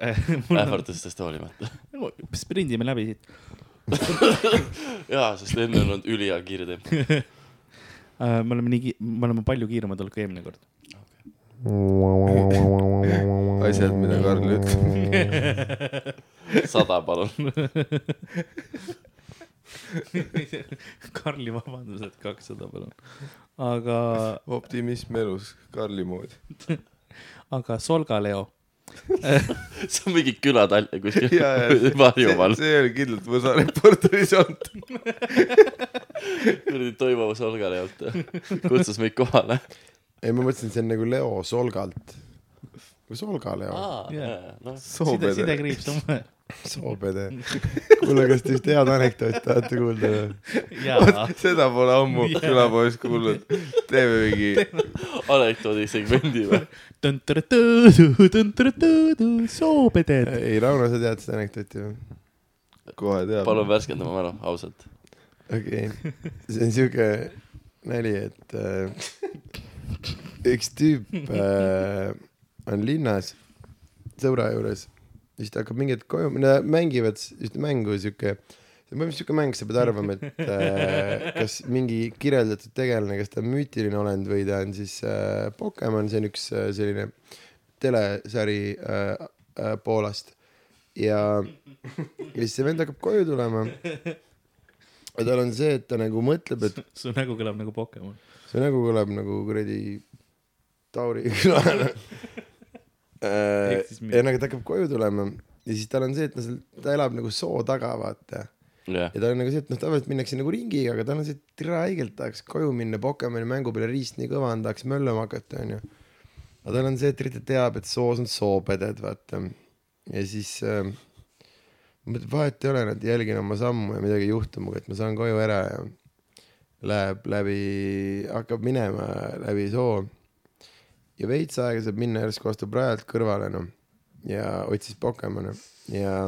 Speaker 6: ähvardustest hoolimata . [LAUGHS]
Speaker 2: Nagu sprindime läbi siit .
Speaker 6: jaa , sest enne on olnud ülihea kiirtempo .
Speaker 2: Äh, me oleme nii , me oleme palju kiiremad olnud kui eelmine kord .
Speaker 5: asjad , mida Karl ütleb .
Speaker 6: sada palun .
Speaker 2: [LAUGHS]
Speaker 6: [LAUGHS]
Speaker 2: Karli vabandused kakssada palun . aga ,
Speaker 5: optimism elus Karli moodi .
Speaker 2: aga Solga-Leo ,
Speaker 6: see on mingi küla Tallinn
Speaker 5: [LAUGHS]
Speaker 4: [LAUGHS]
Speaker 6: kuskil
Speaker 5: ja , ja see,
Speaker 6: Varjumaal .
Speaker 5: see oli kindlalt Võsa reporteris olnud .
Speaker 6: kuradi toimumas olgale ei olnud . kutsus meid kohale .
Speaker 3: ei , ma mõtlesin , see on nagu Leo Solgalt . või Solgale on .
Speaker 2: Jaa.
Speaker 6: noh ,
Speaker 2: side ,
Speaker 3: soopede ,
Speaker 4: [LAUGHS]
Speaker 2: sidekriips on vaja .
Speaker 3: soopede . kuule , kas te just head anekdooti tahate kuulda või ?
Speaker 2: jaa ,
Speaker 4: seda pole ammu külapoes kuulnud . teeme mingi ,
Speaker 6: anekdoodi segmendi või ?
Speaker 2: tõntõrtõõdu , tõntõrtõõdu , soopeded .
Speaker 3: ei , Rauno , sa tead seda anekdooti või ?
Speaker 4: kohe teab .
Speaker 6: palun värskenda mu mälu , ausalt .
Speaker 3: okei okay. , see on siuke nali , et äh, üks tüüp äh, on linnas sõbra juures , siis ta hakkab mingit koju , nad mängivad s- ühte mängu siuke , see on põhimõtteliselt siuke mäng , sa pead arvama , et äh, kas mingi kirjeldatud tegelane , kas ta on müütiline olend või ta on siis äh, Pokemon , see on üks äh, selline telesari äh, äh, Poolast ja , ja siis see vend hakkab koju tulema ja tal on see , et ta nagu mõtleb , et
Speaker 2: [LAUGHS] su nägu kõlab nagu Pokemon .
Speaker 3: see nägu kõlab nagu kuradi Tauri [LAUGHS] külane .
Speaker 2: Ehk siis
Speaker 3: ja
Speaker 2: mitte.
Speaker 3: nagu ta hakkab koju tulema ja siis tal on see , et ta seal , ta elab nagu soo taga , vaata .
Speaker 6: jah ,
Speaker 3: ja tal on nagu see , et noh , tavaliselt minnakse nagu ringiga , aga tal on see , et tere haigelt tahaks koju minna , Pokemoni mängu peale riist nii kõva on , tahaks möllama hakata , onju . aga tal on see , et Rita teab , et soos on soopeded , vaata . ja siis äh, mõtleb , vahet ei ole , nad jälgin oma sammu ja midagi ei juhtu minuga , et ma saan koju ära ja läheb läbi , hakkab minema läbi soo . ja veits aega saab minna , järsku astub rajalt kõrvale , noh . ja otsis Pokemone ja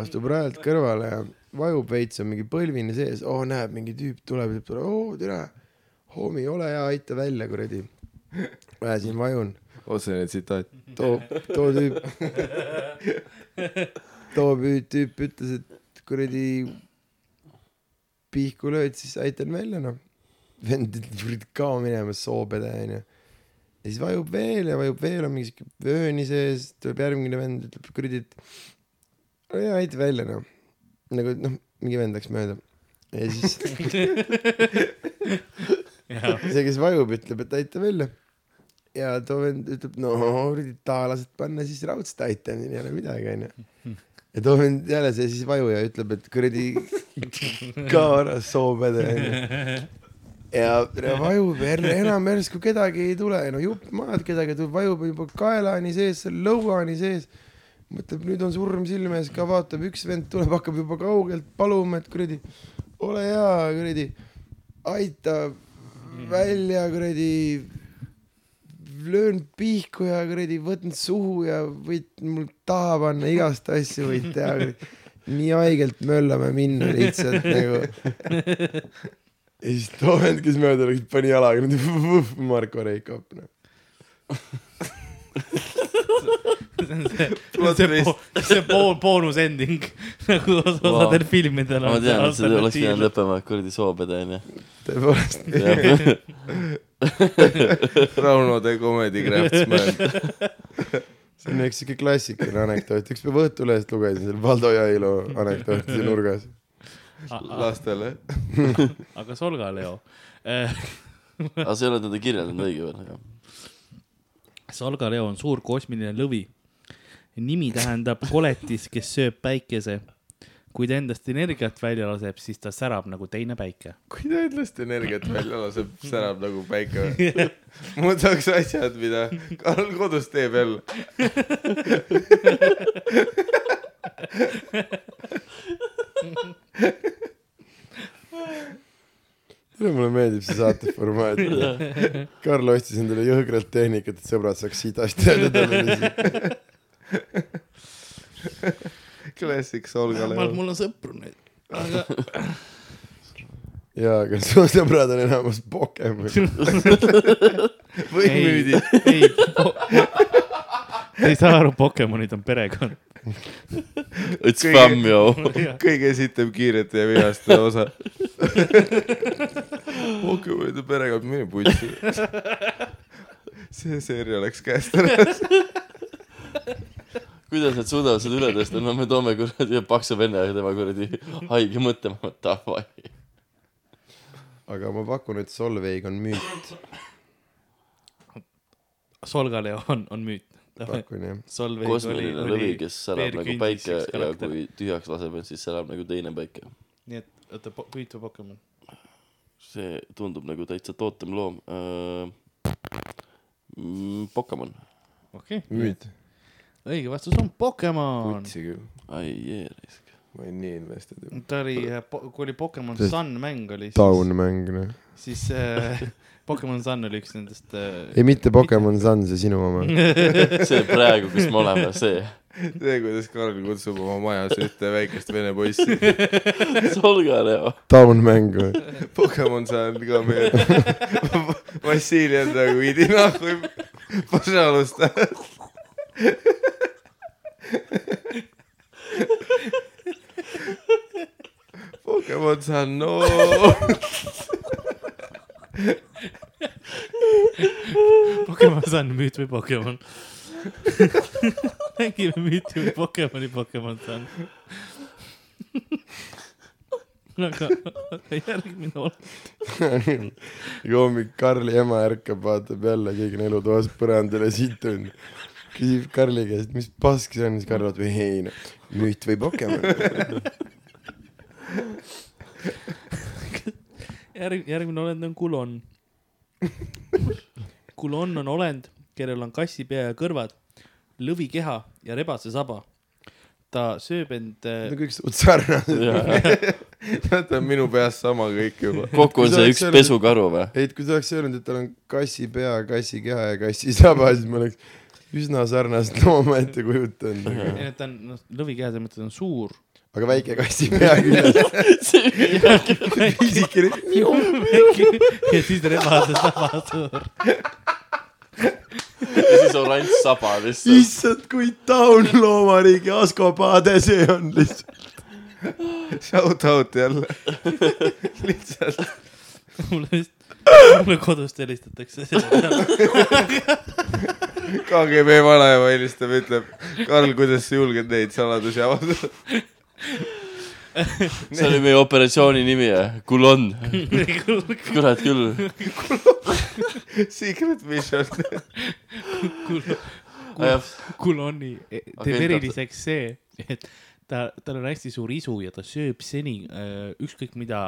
Speaker 3: astub rajalt kõrvale ja vajub veits , on mingi põlvini sees , oo näeb , mingi tüüp tuleb , ütleb talle , oo tere , homi , ole hea , aita välja , kuradi . [LAUGHS] ma siin vajun ,
Speaker 4: otsene tsitaat .
Speaker 3: too , too tüüp , too püü- tüüp ütles , et kuradi pihku lööd , siis aitan välja , noh . vend ütleb , kuradi kao minema , soopede , onju . ja siis vajub veel ja vajub veel , on mingi siuke vööni sees , tuleb järgmine vend , ütleb , kuradi , et ole hea , aita välja , noh . nagu , noh , mingi vend läks mööda . ja siis see , kes vajub , ütleb , et aita välja . ja too vend ütleb , no kuradi taalased panna siis raudselt aita , neil ei ole midagi , onju . ja too vend jälle see siis vajuja ütleb , et kuradi kaara soopede , onju . ja ja vajub jälle enam järsku kedagi ei tule , no jupp maad kedagi tuleb , vajub juba kaelani sees , seal lõuani sees mõtleb , nüüd on surm silme ees ka , vaatab , üks vend tuleb , hakkab juba kaugelt paluma , et kuradi , ole hea , kuradi , aita välja , kuradi , löön pihku ja kuradi , võtan suhu ja võid mul taha panna , igast asju võid teha . nii haigelt möllame minna lihtsalt nagu . ja siis too vend , kes mööda läks , pani jalaga niimoodi [LAUGHS] Marko Reikop , noh .
Speaker 2: [LAUGHS] see on see ,
Speaker 4: Plot
Speaker 2: see
Speaker 4: twist.
Speaker 2: bo- , see bo- , boonus ending [LAUGHS] nagu os- osadel filmidel
Speaker 6: ma
Speaker 2: on see
Speaker 6: tean , et see oleks
Speaker 2: alternatiiv .
Speaker 6: pidanud lõppema kuradi soopede onju .
Speaker 3: tõepoolest ,
Speaker 4: [LAUGHS] Rauno the comedy craftsman .
Speaker 3: [LAUGHS] see on üks siuke klassikaline anekdoot , üks päev Õhtulehest lugesin seal Valdo Jailo anekdooti nurgas .
Speaker 4: lastele .
Speaker 2: aga Solga [LAUGHS] Leo .
Speaker 6: aga sa ei ole teda kirjeldanud õige veel .
Speaker 2: Solga Leo on suur kosmiline lõvi . nimi tähendab koletis , kes sööb päikese . kui ta endast energiat välja laseb , siis ta särab nagu teine päike .
Speaker 4: kui ta endast energiat välja laseb , [LAUGHS] särab nagu päike või ? muudaks asjad , mida Karl kodus teeb jälle .
Speaker 3: mulle meeldib see saate formaat . Karl ostis endale jõhkralt tehnikat , et sõbrad saaks sitast teada talle .
Speaker 4: Classic Solgale .
Speaker 2: mul on sõpru nüüd .
Speaker 6: [LAUGHS]
Speaker 2: aga
Speaker 3: ja , aga su sõbrad on enamus Pokemon .
Speaker 4: või
Speaker 2: Ei.
Speaker 4: müüdi .
Speaker 2: ei , ei saa aru , Pokemonid on perekond .
Speaker 6: It's fam yo .
Speaker 4: kõige sitem kiirete ja vihaste osa . Pokemonide perekond , mine putsi . see seeria läks käest ära .
Speaker 6: [LAUGHS] kuidas nad suudavad seda üle tõsta , no me toome kuradi paksu venna ja tema kuradi haige mõtlema , et davai .
Speaker 3: aga ma pakun , et Solveig on müüt ,
Speaker 2: Solga Leo on , on müüt .
Speaker 3: pakun jah .
Speaker 2: Solveig
Speaker 6: kosmiline lõvi , kes särab nagu päike ja
Speaker 2: karakter.
Speaker 6: kui tühjaks laseb , siis särab nagu teine päike .
Speaker 2: nii et , oota , püütu Pokemon .
Speaker 6: see tundub nagu täitsa tootem loom . Äh, mm, Pokemon ,
Speaker 2: okei okay. ,
Speaker 3: müüd .
Speaker 2: õige vastus on Pokemon .
Speaker 5: kutsi küll ,
Speaker 6: ai jeeris .
Speaker 5: ma olin nii invested juba .
Speaker 2: ta oli , kui oli Pokemon
Speaker 3: See-
Speaker 2: Sun mäng oli , siis ,
Speaker 3: taun mäng , noh .
Speaker 2: siis äh, [LAUGHS] Pokemon Sun oli üks nendest äh,
Speaker 3: ei , mitte Pokemon Sun , see sinu oma .
Speaker 6: see praegu , kus me oleme , see . [LAUGHS]
Speaker 5: see , kuidas Karl kutsub oma majas ühte väikest vene poissi .
Speaker 6: Solga Leo .
Speaker 3: taun mäng või ?
Speaker 5: Pokemon saan ka meie . Vassili on nagu idi nahku . Pažalusta . Pokemon saan no .
Speaker 2: Pokemon Sun , müüt või Pokemon ? mängime müüti või Pokemoni Pokemon Sun . [LAUGHS] aga järgmine on .
Speaker 3: hommik Karli ema ärkab , vaatab jälle keegi on elutoas põrandal ja siit on . küsib Karli käest , mis pask see on , siis Karl vaatab , ei noh , müüt või Pokemon .
Speaker 2: järg- , järgmine olend on kulon . kulon on olend , kellel on kassi pea ja kõrvad , lõvikeha ja rebase saba . ta sööb end äh,
Speaker 3: no kõik suht sarnased .
Speaker 5: teate , minu peas sama kõik juba .
Speaker 6: kokku on see üks pesukaru või ?
Speaker 3: ei , et kui ta oleks öelnud , et tal on kassi pea , kassi keha ja kassi saba , siis ma oleks üsna sarnast looma ette kujutanud .
Speaker 2: ei , ta on , noh , lõvikeha selles mõttes on suur .
Speaker 3: aga väike kassi pea küljes . pisikene .
Speaker 2: ja siis rebase saba suur .
Speaker 6: ja siis oranž saba lihtsalt .
Speaker 3: issand , kui taun loomariigi Askopade see on lihtsalt .
Speaker 5: Shout out jälle . lihtsalt
Speaker 2: mulle vist , mulle kodust helistatakse nagu selle peale .
Speaker 5: KGB vanaema helistab , ütleb , Karl , kuidas sa julged neid saladusi avada ?
Speaker 6: see oli meie operatsiooni nimi , Kulon . [LAUGHS] kurat küll .
Speaker 5: Secret mission .
Speaker 2: Kuloni E, teeb
Speaker 6: Agent
Speaker 2: eriliseks see , et ta , tal on hästi suur isu ja ta sööb seni äh, ükskõik mida ,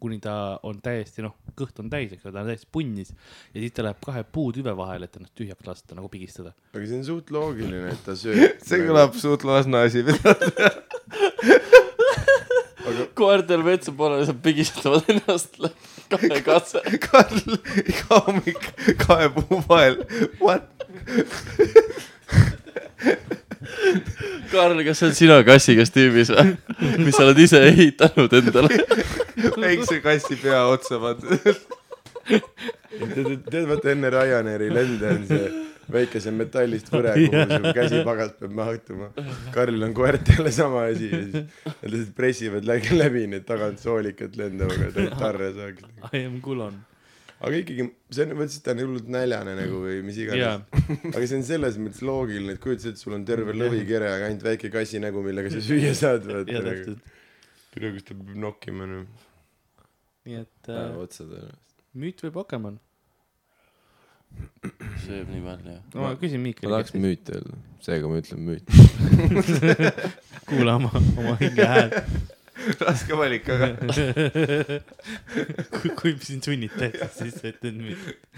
Speaker 2: kuni ta on täiesti noh , kõht on täis , eks ole , ta on täiesti punnis ja siis ta läheb kahe puutüve vahele , et ennast tühjaks lasta , nagu pigistada .
Speaker 3: aga see on suht loogiline , et ta sööb .
Speaker 5: see . kõlab suht Lasna asi .
Speaker 6: koertel vetsu pole , nad pigistavad ennast kahe katse .
Speaker 5: Karl iga hommik kahe puu vahel . What ?
Speaker 6: Karl , kas see on sina kassikas tiimis või ? mis sa oled ise ehitanud endale ?
Speaker 5: väikse kassi pea otsa pandud .
Speaker 3: tead , tead , vaata enne Ryanairi lende on see väikese metallist võre , kuhu su käsipagas peab mahtuma . Karlil on koertele sama asi ja siis nad lihtsalt pressivad läbi, läbi need tagant soolikad lendama , et ainult tarre saaks .
Speaker 2: I am Kulon .
Speaker 3: aga ikkagi , see on , mõtlesin , et ta on hullult näljane nagu või mis
Speaker 2: jaa
Speaker 3: iganes ., aga see on selles mõttes loogiline , et kujuta ette , sul on terve lõvikere , aga ainult väike kassi nägu , millega sa süüa saad ,
Speaker 2: jaa
Speaker 3: vaata .
Speaker 2: täpselt .
Speaker 3: tule , kus ta peab nokkima noh. nüüd .
Speaker 2: nii et äh,
Speaker 3: otsad ära .
Speaker 2: müüt või Pokemon ?
Speaker 6: sööb nii palju .
Speaker 2: no ma küsin Miikali .
Speaker 5: müüt öelda , seega ma ütlen müüt .
Speaker 2: [LAUGHS] kuulama oma hinge häält .
Speaker 5: raske valik , aga
Speaker 2: [LAUGHS] kui , kui sind sunnitakse , siis sa ütled müüt .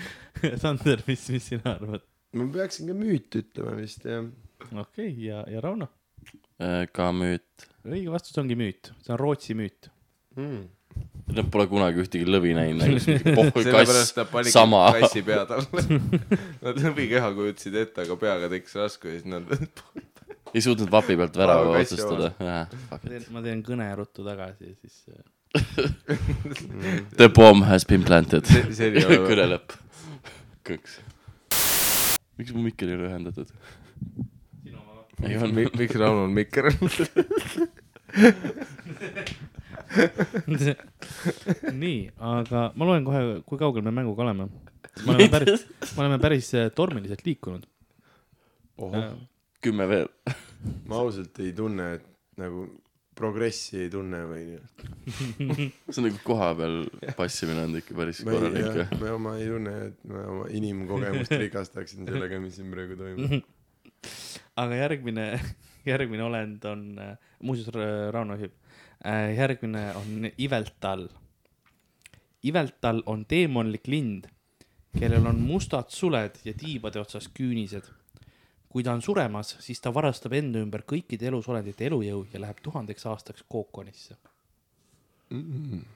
Speaker 2: Sander , mis , mis sina arvad ?
Speaker 3: ma peaksin ka müüt ütlema vist jah .
Speaker 2: okei okay, , ja , ja Rauno ?
Speaker 6: Äh, ka müüt .
Speaker 2: õige vastus ongi müüt , see on Rootsi müüt .
Speaker 3: Hmm.
Speaker 6: Nad pole kunagi ühtegi lõvi näinud , [LAUGHS] nagu siis mingi
Speaker 5: sellepärast
Speaker 6: pohhukass
Speaker 5: nad , panid
Speaker 6: sama .
Speaker 5: kassi pea talle . [LAUGHS] Nad lõvikeha kujutasid ette , aga peaga tekkis raskusi , siis nad
Speaker 6: ei suutnud vapi pealt värava
Speaker 5: Paha kass
Speaker 6: otsustada .
Speaker 2: ma teen kõne ruttu tagasi ja siis äh,
Speaker 6: [LAUGHS]
Speaker 5: Mm.
Speaker 6: The bomb has been planted .
Speaker 5: [LAUGHS] See- see [LAUGHS] ei ole-
Speaker 6: kõne lõpp . kõks . miks mu mikker ei ole ühendatud ? ei on ,
Speaker 5: Mi- miks Rauno on [LAUGHS] mikker ?
Speaker 2: [LAUGHS] nii , aga ma loen kohe , kui kaugel me mänguga oleme . [LAUGHS] me oleme päris , me oleme päris äh, tormiliselt liikunud . Äh,
Speaker 6: kümme veel .
Speaker 3: ma ausalt ei tunne , et nagu progressi ei tunne või nii .
Speaker 6: see on nagu koha peal passimine on ikka päris
Speaker 3: ma ei ,
Speaker 6: korralik
Speaker 3: jah , ma oma ei tunne , et ma oma inimkogemust rikastaksin sellega , mis siin praegu toimub .
Speaker 2: aga järgmine , [LAUGHS] järgmine olend on , muuseas Ra- Rauno ühib , järgmine on Iveltal . Iveltal on teemonlik lind , kellel on mustad suled ja tiibade otsas küünised . kui ta on suremas , siis ta varastab enda ümber kõikide elusolendite elujõu ja läheb tuhandeks aastaks kookonisse . Mm-hmm.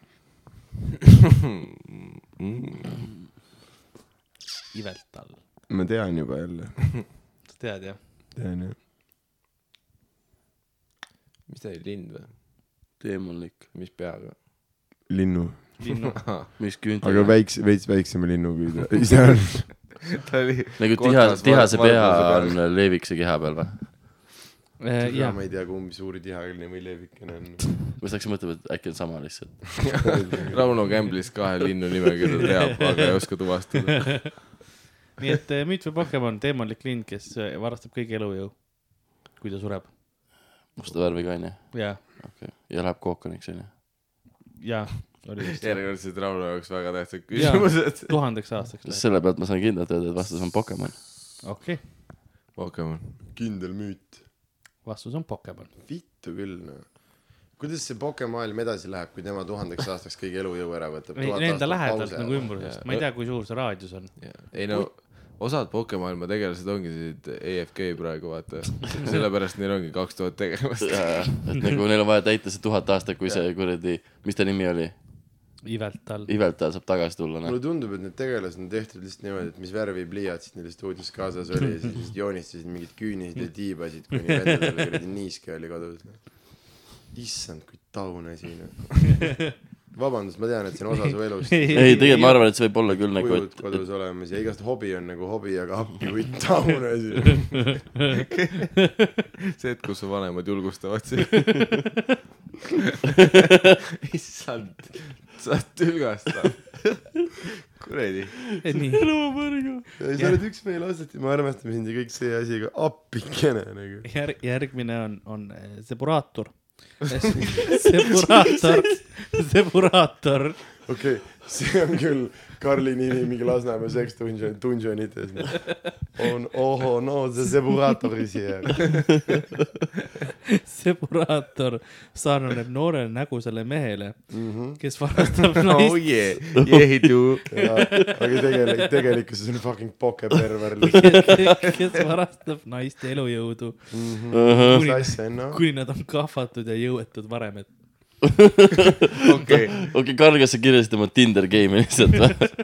Speaker 2: ivelt all ,
Speaker 7: ma tean juba jälle .
Speaker 2: sa tead jah ?
Speaker 7: tean jah .
Speaker 5: [LAUGHS] mis ta oli , lind või ?
Speaker 6: teemalik ,
Speaker 5: mis peaga ?
Speaker 7: linnu ,
Speaker 2: [LAUGHS] linnu , Äh,
Speaker 6: mis küünte .
Speaker 7: aga väikse , veits väiksema linnu kui [LAUGHS] ta ise on .
Speaker 5: [LAUGHS] ta [LAUGHS] oli
Speaker 6: nagu tiha ,
Speaker 5: kotas
Speaker 6: tihase
Speaker 5: Mar-
Speaker 6: pea
Speaker 5: Markuse
Speaker 6: on leevikese keha peal või ?
Speaker 2: jah ,
Speaker 7: ma ei tea , kumb suur tihaline või leevikene on .
Speaker 6: ma just hakkasin mõtlema , et äkki on sama lihtsalt .
Speaker 5: peal. Rauno Kämblis kahe linnu [LAUGHS] nimekirja teab , aga ei oska tuvastada .
Speaker 2: nii et eh, müüt või Pokemon , teemalik lind , kes eh, varastab kõigi elujõu , kui ta sureb .
Speaker 6: musta värviga onju ,
Speaker 2: ja ,
Speaker 6: okei okay. . ja läheb kookoniks onju .
Speaker 2: ja oli vist
Speaker 5: järjekordselt Rauno jaoks väga tähtsad [LAUGHS] küsimused .
Speaker 2: tuhandeks aastaks läheb ,
Speaker 6: selle pealt ma saan kindlalt öelda , et vastus on Pokemon .
Speaker 2: okei okay. ,
Speaker 5: Pokemon .
Speaker 7: kindel müüt .
Speaker 2: vastus on Pokemon .
Speaker 7: vittu küll noh . kuidas see pokemaailm edasi läheb , kui tema tuhandeks aastaks kõigi elujõu ära võtab ?
Speaker 2: või nende lähedalt nagu . ümbrusest , ma ei tea , kui suur see raadius on .
Speaker 5: ei no , osad Pokemon tegelased ongi siit EFK praegu [LAUGHS] vaata , sellepärast neil ongi kaks tuhat tegelast .
Speaker 6: et nagu neil on vaja täita see tuhat aastat , kui see kuradi , mis ta nimi oli ,
Speaker 2: ivelt all . [LAUGHS]
Speaker 6: Iveltal saab tagasi tulla , noh
Speaker 7: mulle . tundub , et need tegelased on tehtud lihtsalt niimoodi , et mis värvi pliiatsid neil stuudios kaasas oli ja siis lihtsalt joonistasid mingeid küüniseid ja tiibasid , kuni vendadel kuradi niiske oli kodus . issand , kui taun asi noh . vabandust , ma tean , et see on osa su elust .
Speaker 6: ei , tegelikult ma arvan , et see võib olla küll nagu ,
Speaker 7: kujud
Speaker 6: et ,
Speaker 7: kodus olemas ja igast hobi on nagu hobi , aga appi kui
Speaker 2: [LAUGHS]
Speaker 7: taun asi .
Speaker 5: see hetk , kus su vanemad julgustavad sind . issand , sa oled tülgastav . kuradi .
Speaker 2: nii ,
Speaker 7: sa oled üks meie lastest ja me armastame sind ja kõik see asi , aga appikene nagu .
Speaker 2: järg , järgmine on , on eh, seburaator . [LAUGHS] seburaator , seburaator .
Speaker 7: okei okay, , see on küll Karli nimi mingi Lasnamäe seks dungeon , dungeonites . on oho no see seburaatori siia .
Speaker 2: seburaator sarnaneb noorele nägusale mehele mm ,
Speaker 6: Mhm.
Speaker 2: -hmm. kes [LAUGHS] varastab
Speaker 5: oh
Speaker 2: naist .
Speaker 5: yeah , yeah do .
Speaker 7: aga tegelik , tegelikkuses on fucking pokeperver .
Speaker 2: [LAUGHS] kes varastab naiste elujõudu ,
Speaker 7: mis asja on noh ?
Speaker 2: Mhm. kuni nad on kahvatud ja jõuetud varemed .
Speaker 5: okei ,
Speaker 6: okei , Karl , kas sa kirjeldasid oma Tinder game'i lihtsalt või ?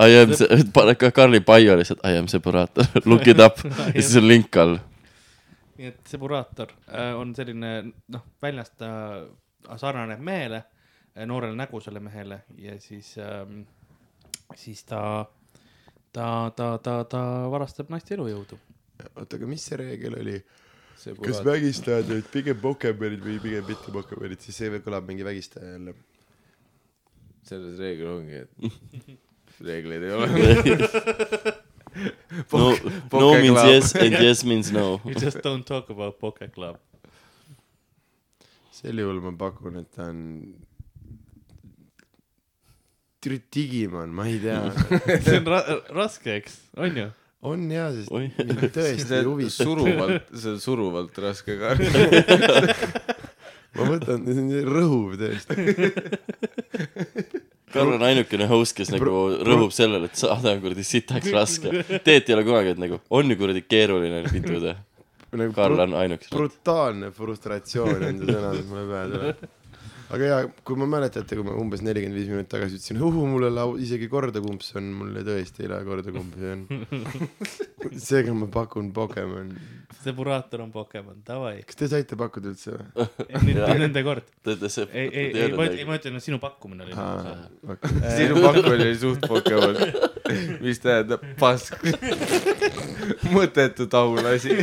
Speaker 6: I am see , pane ka Karli bio lihtsalt , I am separaator , look it up ja siis on link all .
Speaker 2: nii et seburaator äh, on selline noh , väljast ta sarnaneb mehele , noorele nägusale mehele ja siis ähm, , siis ta , ta , ta , ta , ta varastab naiste elujõudu .
Speaker 7: oota , aga mis see reegel oli ?
Speaker 5: see
Speaker 7: kas
Speaker 5: puhas .
Speaker 7: vägistajad olid pigem pokemonid või pigem mitte pokemonid , siis see kõlab mingi vägistaja jälle .
Speaker 5: selles reegel ongi , et reegleid ei ole .
Speaker 6: no , no
Speaker 5: Poke
Speaker 6: means
Speaker 5: Club.
Speaker 6: yes and yes means no .
Speaker 2: You just don't talk about poke club .
Speaker 7: sel juhul ma pakun , et ta on . Digimon , ma ei tea .
Speaker 2: see on ra raske , eks , on ju ?
Speaker 7: on jaa , sest
Speaker 6: Oi.
Speaker 5: [LAUGHS]
Speaker 7: mind tõesti
Speaker 5: see on
Speaker 7: huvitab .
Speaker 5: suruvalt , see on suruvalt raske karm .
Speaker 7: ma võtan , see on rõhuv tõesti .
Speaker 6: Karl on ainukene host , kes nagu rõhub sellele , et saade on kuradi sitaks raske . Teet ei ole kunagi , et nagu on ju kuradi keeruline pituda .
Speaker 7: nagu
Speaker 6: Karl
Speaker 7: brut-
Speaker 6: on ainukene .
Speaker 7: brutaalne frustratsioon on see sõna , mis mulle pähe tuleb . aga jaa , kui ma mäletate , kui ma umbes nelikümmend viis minutit tagasi ütlesin , uhu , mulle lau- , isegi korda kumb see on , mulle tõesti ei lähe korda , kumb see on . seega ma pakun Pokemon .
Speaker 2: seburaator on Pokemon ,
Speaker 7: [LAUGHS]
Speaker 2: davai .
Speaker 7: kas te saite pakkuda üldse või ?
Speaker 2: nüüd on nende kord . ei , ei , ei , ma ütlen ,
Speaker 6: ei ,
Speaker 2: ma ütlen , et sinu pakkumine oli
Speaker 7: aa
Speaker 2: ah. .,
Speaker 7: okei .
Speaker 5: sinu pakkumine oli suht Pokemon , mis tähendab pask . mõttetu taulasi .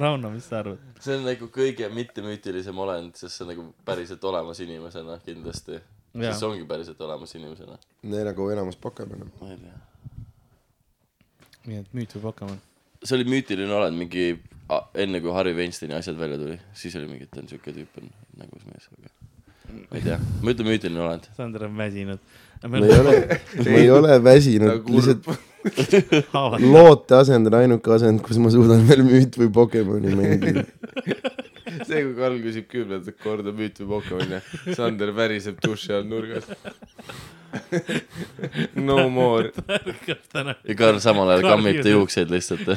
Speaker 2: Rauno , mis sa arvad ?
Speaker 6: see on nagu kõige mittemüütilisem olend , sest see on nagu päriselt olemas inimesena kindlasti .
Speaker 2: Jaa.
Speaker 6: sest see ongi päriselt olemas inimesena .
Speaker 7: Need nagu enamus Pokemon .
Speaker 6: ma ei tea .
Speaker 2: nii et müüt või Pokemon ?
Speaker 6: see oli müütiline olend mingi a- enne , kui Harry Weinsteini asjad välja tuli , siis oli mingi , et ta on siuke tüüp on nägus mees , aga ma ei tea , ma ütlen müütiline olend .
Speaker 2: Sander on väsinud .
Speaker 7: ma ei ole , ma ei ole väsinud ,
Speaker 5: Nagu
Speaker 7: lihtsalt
Speaker 2: [LAUGHS] haavad .
Speaker 7: loote asend on ainuke asend , kus ma suudan veel müüt või Pokemoni mängida .
Speaker 5: see , kui Karl küsib kümnendat korda müüt või Pokemoni , Sander väriseb duši all nurgas . no more .
Speaker 2: ärkab täna .
Speaker 6: ja Karl samal ajal
Speaker 2: Karl
Speaker 6: kammib ta
Speaker 2: juurde.
Speaker 6: juukseid lihtsalt .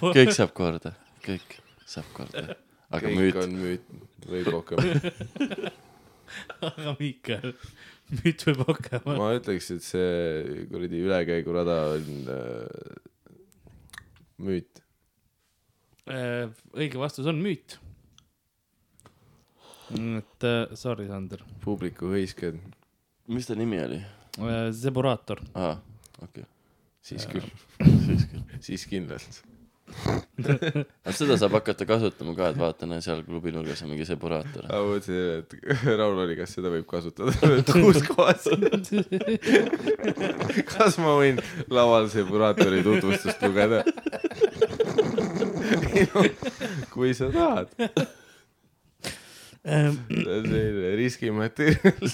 Speaker 6: kõik saab korda , kõik saab korda . aga
Speaker 5: kõik
Speaker 6: müüt ,
Speaker 5: on müüt või rohkem .
Speaker 2: aga Miikal , nüüd võib hakkama .
Speaker 5: ma ütleks , et see kuradi ülekäigurada on äh, müüt .
Speaker 2: Äh, õige vastus on müüt . et äh, sorry , Sander ,
Speaker 5: publiku hõisked ,
Speaker 6: mis ta nimi oli ?
Speaker 2: Äh, [LAUGHS] Zeburaator .
Speaker 6: aa , okei okay. .
Speaker 5: siis küll ,
Speaker 6: siis küll .
Speaker 5: siis kindlalt .
Speaker 6: aga seda saab hakata kasutama ka , et vaata , näe seal klubi nurgas on mingi seburaator .
Speaker 5: ma mõtlesin , et [LAUGHS] Raul oli , kas seda võib kasutada [LAUGHS] kuus kohas . kas ma võin laual seburaatori tutvustust lugeda ? [LAUGHS] kui sa tahad ,
Speaker 2: ma
Speaker 5: see on selline riskimaterjal .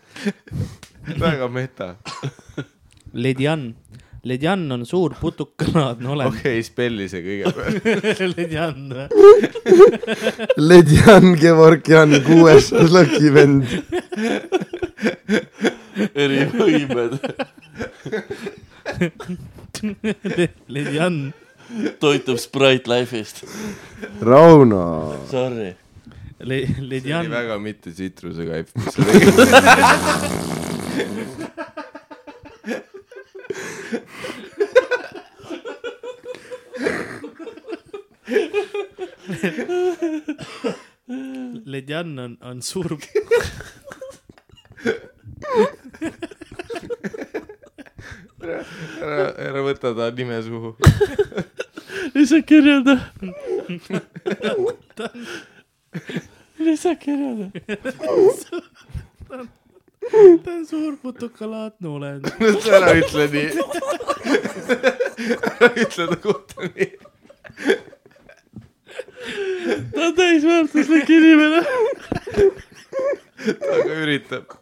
Speaker 5: [LAUGHS] väga meta ,
Speaker 2: Ledjan , ledjan on suur putukalaadne
Speaker 5: okei
Speaker 2: olend äh,
Speaker 5: okay, , spelli see
Speaker 2: [LAUGHS]
Speaker 5: kõigepealt .
Speaker 2: okay. . ledjan ,
Speaker 3: Ledjan Gevorgjan , kuues Lucky vend .
Speaker 6: erivõimed , [LAUGHS]
Speaker 2: ledjan ,
Speaker 6: toitub Sprite Life'ist .
Speaker 3: Rauno .
Speaker 6: Sorry .
Speaker 5: see oli
Speaker 2: ledjan ,
Speaker 5: väga mitte tsitruse kaip , mis sa tegid .
Speaker 2: ledjan on , on suur .
Speaker 5: ära , ära võta ta nime suhu . [LAUGHS]
Speaker 2: lisa kirjelda . lisa kirjelda . ta on suur putukalaadne olend .
Speaker 5: ära ütle nii . ära ütle ta kohta nii .
Speaker 2: ta on täisväärtuslik inimene .
Speaker 5: ta ka üritab .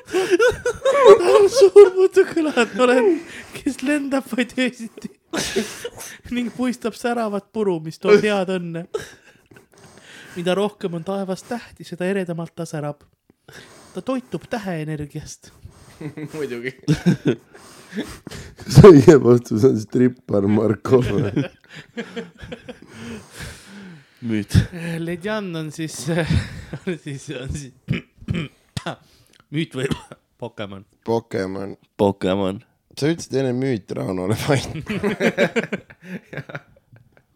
Speaker 2: ta on suur putukalaadne olend , kes lendab vaid öösiti ning puistab säravat puru , mis toob head õnne . mida rohkem on taevas tähti , seda eredamalt ta särab . ta toitub täheenergiast .
Speaker 5: muidugi .
Speaker 3: see õige vastus on strippar Markov .
Speaker 6: müüt .
Speaker 2: Ledjan Eh, on siis , [LAUGHS] on siis , on siis [COUGHS] müüt või [COUGHS] Pokemon .
Speaker 3: Pokemon .
Speaker 6: Pokemon .
Speaker 3: sa ütlesid enne müüt Raunole , vaid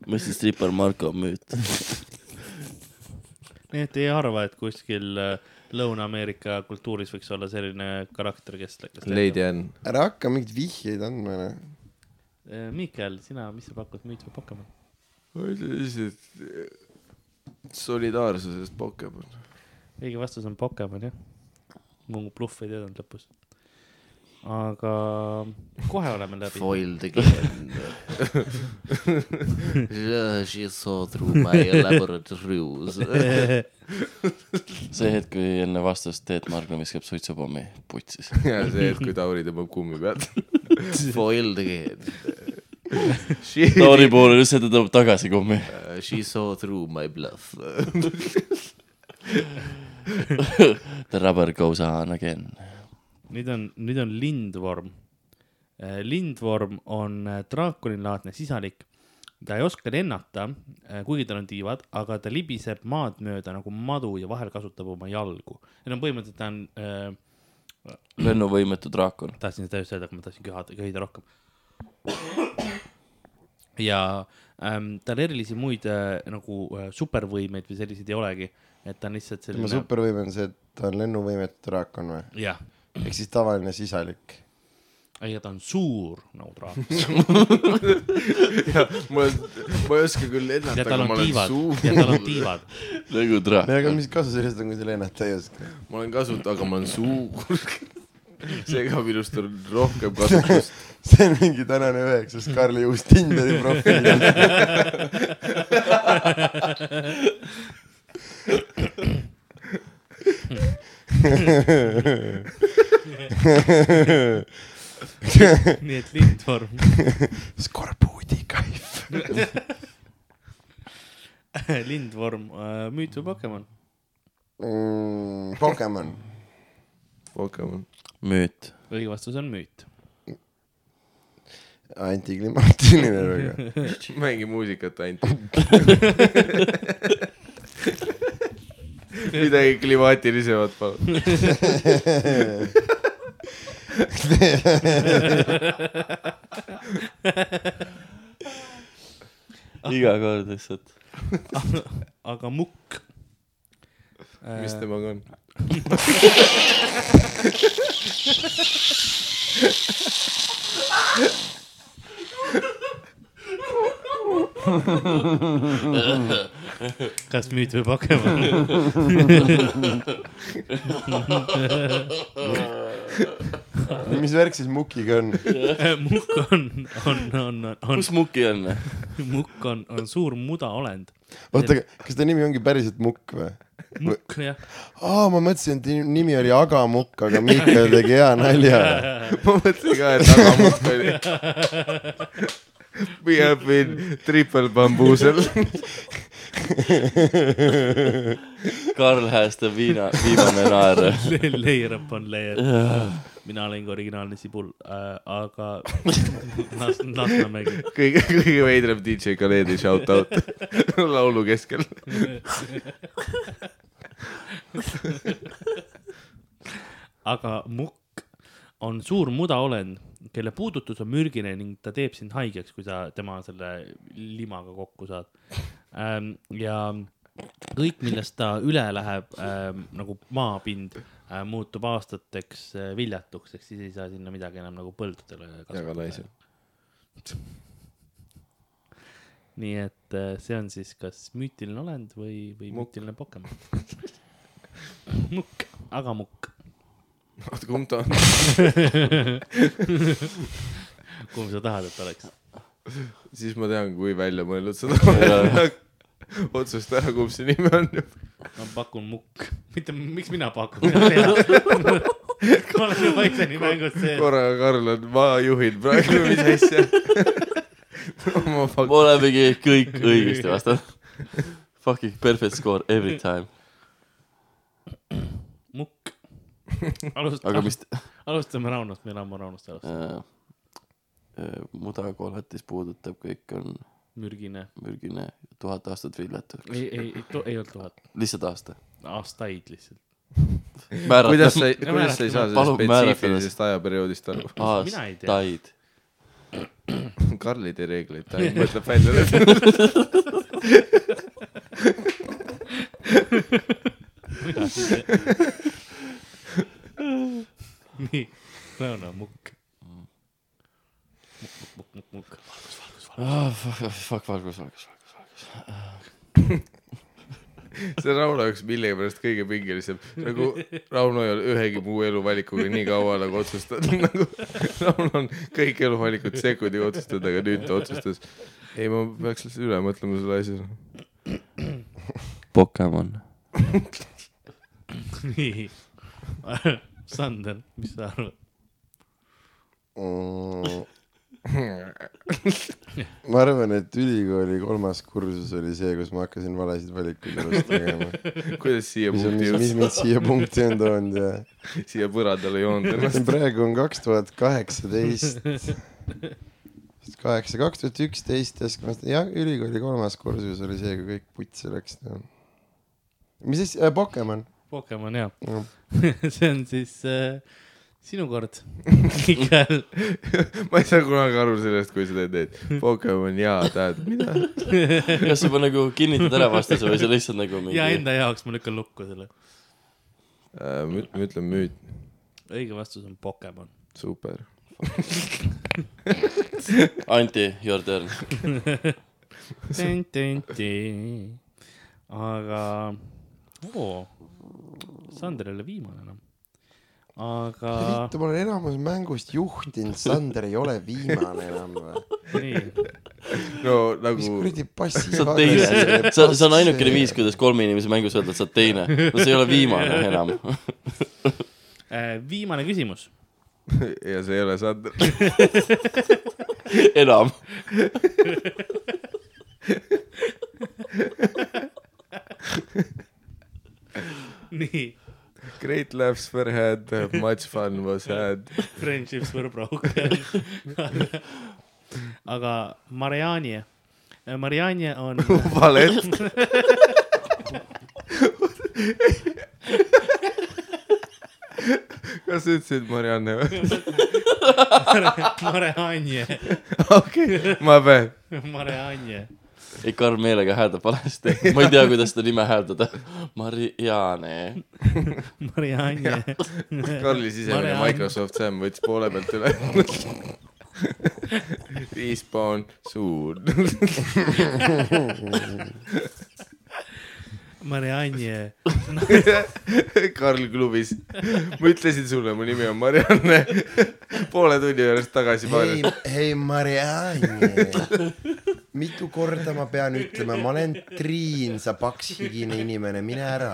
Speaker 6: ma ütlesin , stripper Marko on müüt .
Speaker 2: nii et ei arva , et kuskil äh, Lõuna-Ameerika kultuuris võiks olla selline karakter , kes .
Speaker 5: Lady . Ann .
Speaker 3: ära hakka mingeid vihjeid andma , noh .
Speaker 2: Eh, Miikel , sina , mis sa pakud , müüt või Pokemon ?
Speaker 5: ma ütlen lihtsalt solidaarsusest Pokemon .
Speaker 2: õige vastus on Pokemon jah . mu bluff ei teadnud lõpus . aga kohe oleme läbi .
Speaker 6: Foiled again . [LAUGHS] She saw through my elaborate ruse . see hetk , kui enne vastust Teet Margna viskab suitsupommi putsis .
Speaker 5: ja see hetk , kui Tauri tõmbab
Speaker 8: [LAUGHS]
Speaker 5: kummi pealt .
Speaker 6: Foiled again .
Speaker 5: She ,
Speaker 6: Tauri poole lihtsalt ta tõmbab tagasi kummi .
Speaker 8: She saw through my bluff .
Speaker 6: The rubber goes on again .
Speaker 2: nüüd on , nüüd on lindvorm . lindvorm on äh, draakonilaadne sisalik . ta ei oska lennata , kuigi tal on tiivad , aga ta libiseb maad mööda nagu madu ja vahel kasutab oma jalgu . ja no põhimõtteliselt ta on äh, ,
Speaker 6: lennuvõimetu draakon .
Speaker 2: tahtsin seda just öelda , aga ma tahtsin köhada , köhida rohkem . ja ähm, tal erilisi muid äh, nagu äh, supervõimeid või selliseid ei olegi , et ta on lihtsalt
Speaker 3: tema
Speaker 2: selline .
Speaker 3: supervõime on see , et ta on lennuvõimetu draakon või ?
Speaker 2: jah ,
Speaker 3: noh. ehk siis tavaline sisalik .
Speaker 2: ja ta on suur nagu draakon .
Speaker 5: [LAUGHS] ma , ma ei oska küll lennata ,
Speaker 2: ja
Speaker 5: aga
Speaker 2: tal on
Speaker 5: ma olen
Speaker 2: tiivad ,
Speaker 5: suur ,
Speaker 2: ja tal on tiivad .
Speaker 6: nagu draakon .
Speaker 3: aga mis kasu sellest on , kui sa lennata ei oska ?
Speaker 5: ma olen kasutu , aga ma olen suur . [LAUGHS] seega minust on rohkem kasutust .
Speaker 3: see on mingi tänane üheksas Karli uus Tinderi profiil .
Speaker 2: nii et lindvorm ,
Speaker 3: skorbuudi kaif .
Speaker 2: lindvorm , müüt või äh, Pokemon ?
Speaker 3: mm, . Pokemon .
Speaker 5: Pokemon .
Speaker 6: müüt .
Speaker 2: õige vastus on müüt .
Speaker 3: [LAUGHS] antiklimaatiline väga .
Speaker 5: mängi muusikat ainult . midagi klimaatilisemat , palun .
Speaker 6: iga kord lihtsalt .
Speaker 2: aga mukk . Äh,
Speaker 5: mis temaga on ? [LAUGHS]
Speaker 2: kas müüt või Pokemon ?
Speaker 3: mis värk siis Mukiga on ?
Speaker 2: Äh, mukk on , on , on , on , on ,
Speaker 6: kus Muki on ?
Speaker 2: mukk on , on suur mudaolend .
Speaker 3: oota , kas ta nimi ongi päriselt Mukk või ?
Speaker 2: mukk jah ,
Speaker 3: aa , ma mõtlesin , et ni- nimi oli Aga Mukk , aga Miikael tegi hea nalja .
Speaker 5: ma mõtlesin ka , et tagamukk oli . We have been triple bamboozled .
Speaker 6: Karl Hääste viina , viimane naer .
Speaker 2: leierab on leier . mina olen ka originaalne sibul äh, , aga [LAUGHS] Las- Lasnamägi .
Speaker 5: kõige , kõige veidram DJ Khaledi shout out [LAUGHS] laulu keskel .
Speaker 2: aga mukk on suur mudaolend , kelle puudutus on mürgine ning ta teeb sind haigeks , kui sa tema selle limaga kokku saad ähm, . ja kõik , millest ta üle läheb ähm, nagu maapind äh, , muutub aastateks äh, viljatuks , ehk siis ei saa sinna midagi enam nagu põldudele kasvatada . nii et äh, see on siis kas müütiline olend või , või müütiline Pokemon . [LAUGHS] mukk , aga mukk .
Speaker 5: oota , kumb ta on ?
Speaker 2: kumb sa tahad , et oleks ?
Speaker 5: siis ma tean , kui välja mõelnud seda [LAUGHS] on . otsusta ära , kumb see nimi on .
Speaker 2: ma pakun mukk . [LAUGHS] mitte , miks mina [LAUGHS] pakun , mina tean . ma olen ju Paiseni mängus sees .
Speaker 5: korraga , Karl on , ma juhin praegu , mis [LAUGHS] asja . ma
Speaker 6: me olemegi kõik õigesti vastanud . Fucking perfect score every time .
Speaker 2: mukk . alustame ,
Speaker 5: Ah.
Speaker 6: aga mis
Speaker 2: alustame Raunost , me elame Raunost alustame .
Speaker 6: äh, äh, mudakoletis puudutab , kõik on
Speaker 2: mürgine .
Speaker 6: mürgine , tuhat aastat viljatud ,
Speaker 2: ei , ei , ei , ei olnud tuhat ,
Speaker 6: lihtsalt aasta .
Speaker 2: aastaid lihtsalt . [LAUGHS]
Speaker 5: kuidas sa , kuidas
Speaker 2: määrata-
Speaker 5: sa ei saa
Speaker 6: palun
Speaker 5: sellest
Speaker 6: määrata
Speaker 5: spetsiifilisest ajaperioodist aru ? [LAUGHS]
Speaker 2: Mina ei tea.
Speaker 6: aastaid .
Speaker 5: Karl ei tee reegleid , ta mõtleb välja [LAUGHS] need .
Speaker 2: nii , Rauno mukk . mukk , mukk , mukk , mukk , [LAUGHS] mukk .
Speaker 6: Ah, Fuck , valgus , valgus , valgus , valgus .
Speaker 5: see on Rauno jaoks millegipärast kõige pingelisem . nagu Rauno ei ole ühegi muu eluvalikuga nii kaua nagu otsustanud , [LAUGHS] nagu Rauno on kõik eluvalikud sekundiga otsustanud , aga nüüd ta otsustas . ei , ma peaks lihtsalt üle mõtlema selle asja .
Speaker 6: Pokemon .
Speaker 2: nii . Sander , mis sa arvad ?
Speaker 3: Mm. ma arvan , et ülikooli kolmas kursus oli see , kus ma hakkasin valesid valikuid elus tegema .
Speaker 5: kuidas siia
Speaker 3: mis on , mis ,
Speaker 5: punkti
Speaker 3: mis
Speaker 5: jõudis ,
Speaker 3: mind siia punkti on toonud ja
Speaker 5: siia põrandale joonud ennast .
Speaker 3: praegu on kaks tuhat kaheksateist , kaheksa , kaks tuhat üksteist keskkonnas ja ülikooli kolmas kursus oli see , kui kõik putsi läks . mis siis äh, , Pokemon ?
Speaker 2: Pokemon jah
Speaker 3: Jah.
Speaker 2: [LAUGHS] see on siis äh, sinu
Speaker 6: [LAUGHS]
Speaker 2: kord . Mikael ,
Speaker 5: ma ei saa kunagi aru sellest , kui sa teed neid Pokemon ja tähendab mida .
Speaker 6: kas juba nagu kinnitad ära vastuse või sa lihtsalt nagu mingi
Speaker 2: ja enda jaoks ma lükkan lukku selle .
Speaker 5: ma üt- ma ütlen müüt ,
Speaker 2: õige vastus on [LAUGHS] Pokemon .
Speaker 5: super .
Speaker 6: Anti , your turn .
Speaker 2: aga , oo , Sander ei ole viimane enam . aga ,
Speaker 3: vittu , ma olen enamus mängust juhtinud , Sander ei ole viimane enam või ?
Speaker 2: nii ,
Speaker 5: no
Speaker 3: mis
Speaker 5: nagu
Speaker 3: kuradi passi .
Speaker 6: sa oled teine , sa , see on ainukene viis , kuidas kolme inimese mängus öelda , et sa oled teine . no see ei ole viimane enam . [LAUGHS]
Speaker 2: äh, viimane küsimus .
Speaker 5: [LAUGHS] ja see ei ole Sander .
Speaker 6: enam .
Speaker 2: [LAUGHS] nii ,
Speaker 5: [LAUGHS] Great laughs were had , much fun was had . [LAUGHS]
Speaker 2: friendships were broken . [LAUGHS] aga Mariani , Mariani on , [LAUGHS]
Speaker 5: valed . [LAUGHS] kas sa ütlesid Marianne [LAUGHS] või ?
Speaker 2: Mariani ,
Speaker 5: ma pean .
Speaker 2: Mariani .
Speaker 6: ei , Karl meelega hääldab valesti . ma ei tea , kuidas seda nime hääldada . Marianne .
Speaker 2: Marianne . [LAUGHS]
Speaker 5: Karli sisemine
Speaker 2: Marianne.
Speaker 5: Microsoft Sam võttis poole pealt üle . Respawn suur . [LAUGHS]
Speaker 2: Marianne .
Speaker 5: Karl klubis . ma ütlesin sulle , mu nimi on Marianne . poole tunni pärast tagasi
Speaker 3: hei
Speaker 5: paaril .,
Speaker 3: hei Marianne , mitu korda ma pean ütlema , ma olen Triin , sa pakshigine inimene , mine ära .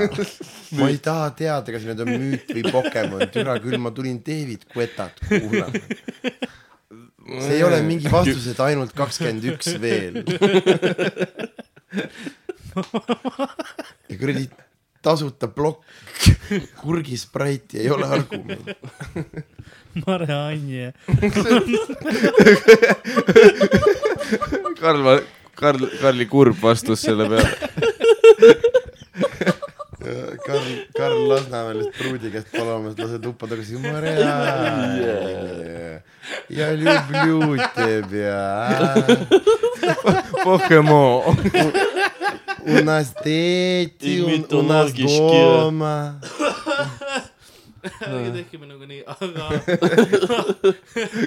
Speaker 3: ma ei taha teada , kas need on müüt või Pokemon , türa küll , ma tulin David Guettat kuulama . see ei ole mingi vastus , et ainult kakskümmend üks veel . ja kuradi tasuta plokk , kurgispraiti ei ole argument .
Speaker 2: Marianne .
Speaker 5: Karl , Karl , Karli kurb vastus selle peale .
Speaker 3: Karl , Karl Lasnamäelist pruudi käest palumas , lase tuppa tagasi , Maria . ja ljublju tebja .
Speaker 5: Pokemon .
Speaker 3: У нас teeti ,
Speaker 6: Imito
Speaker 3: у нас
Speaker 6: logiški.
Speaker 3: doma .
Speaker 2: ärge tehke minuga nii , aga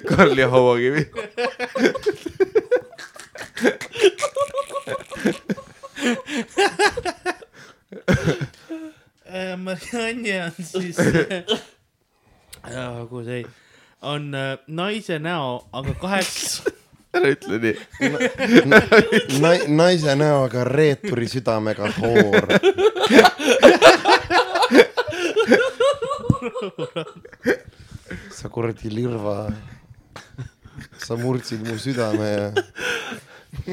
Speaker 5: Karli hauakivi .
Speaker 2: äh, [LAUGHS] Marianne on siis äh, . kus ei , on äh, naise näo , aga kaheksa .
Speaker 5: ära ütle nii .
Speaker 3: naise näoga reeturi südamega hoor . sa kuradi lirva . sa murdsid mu südame ja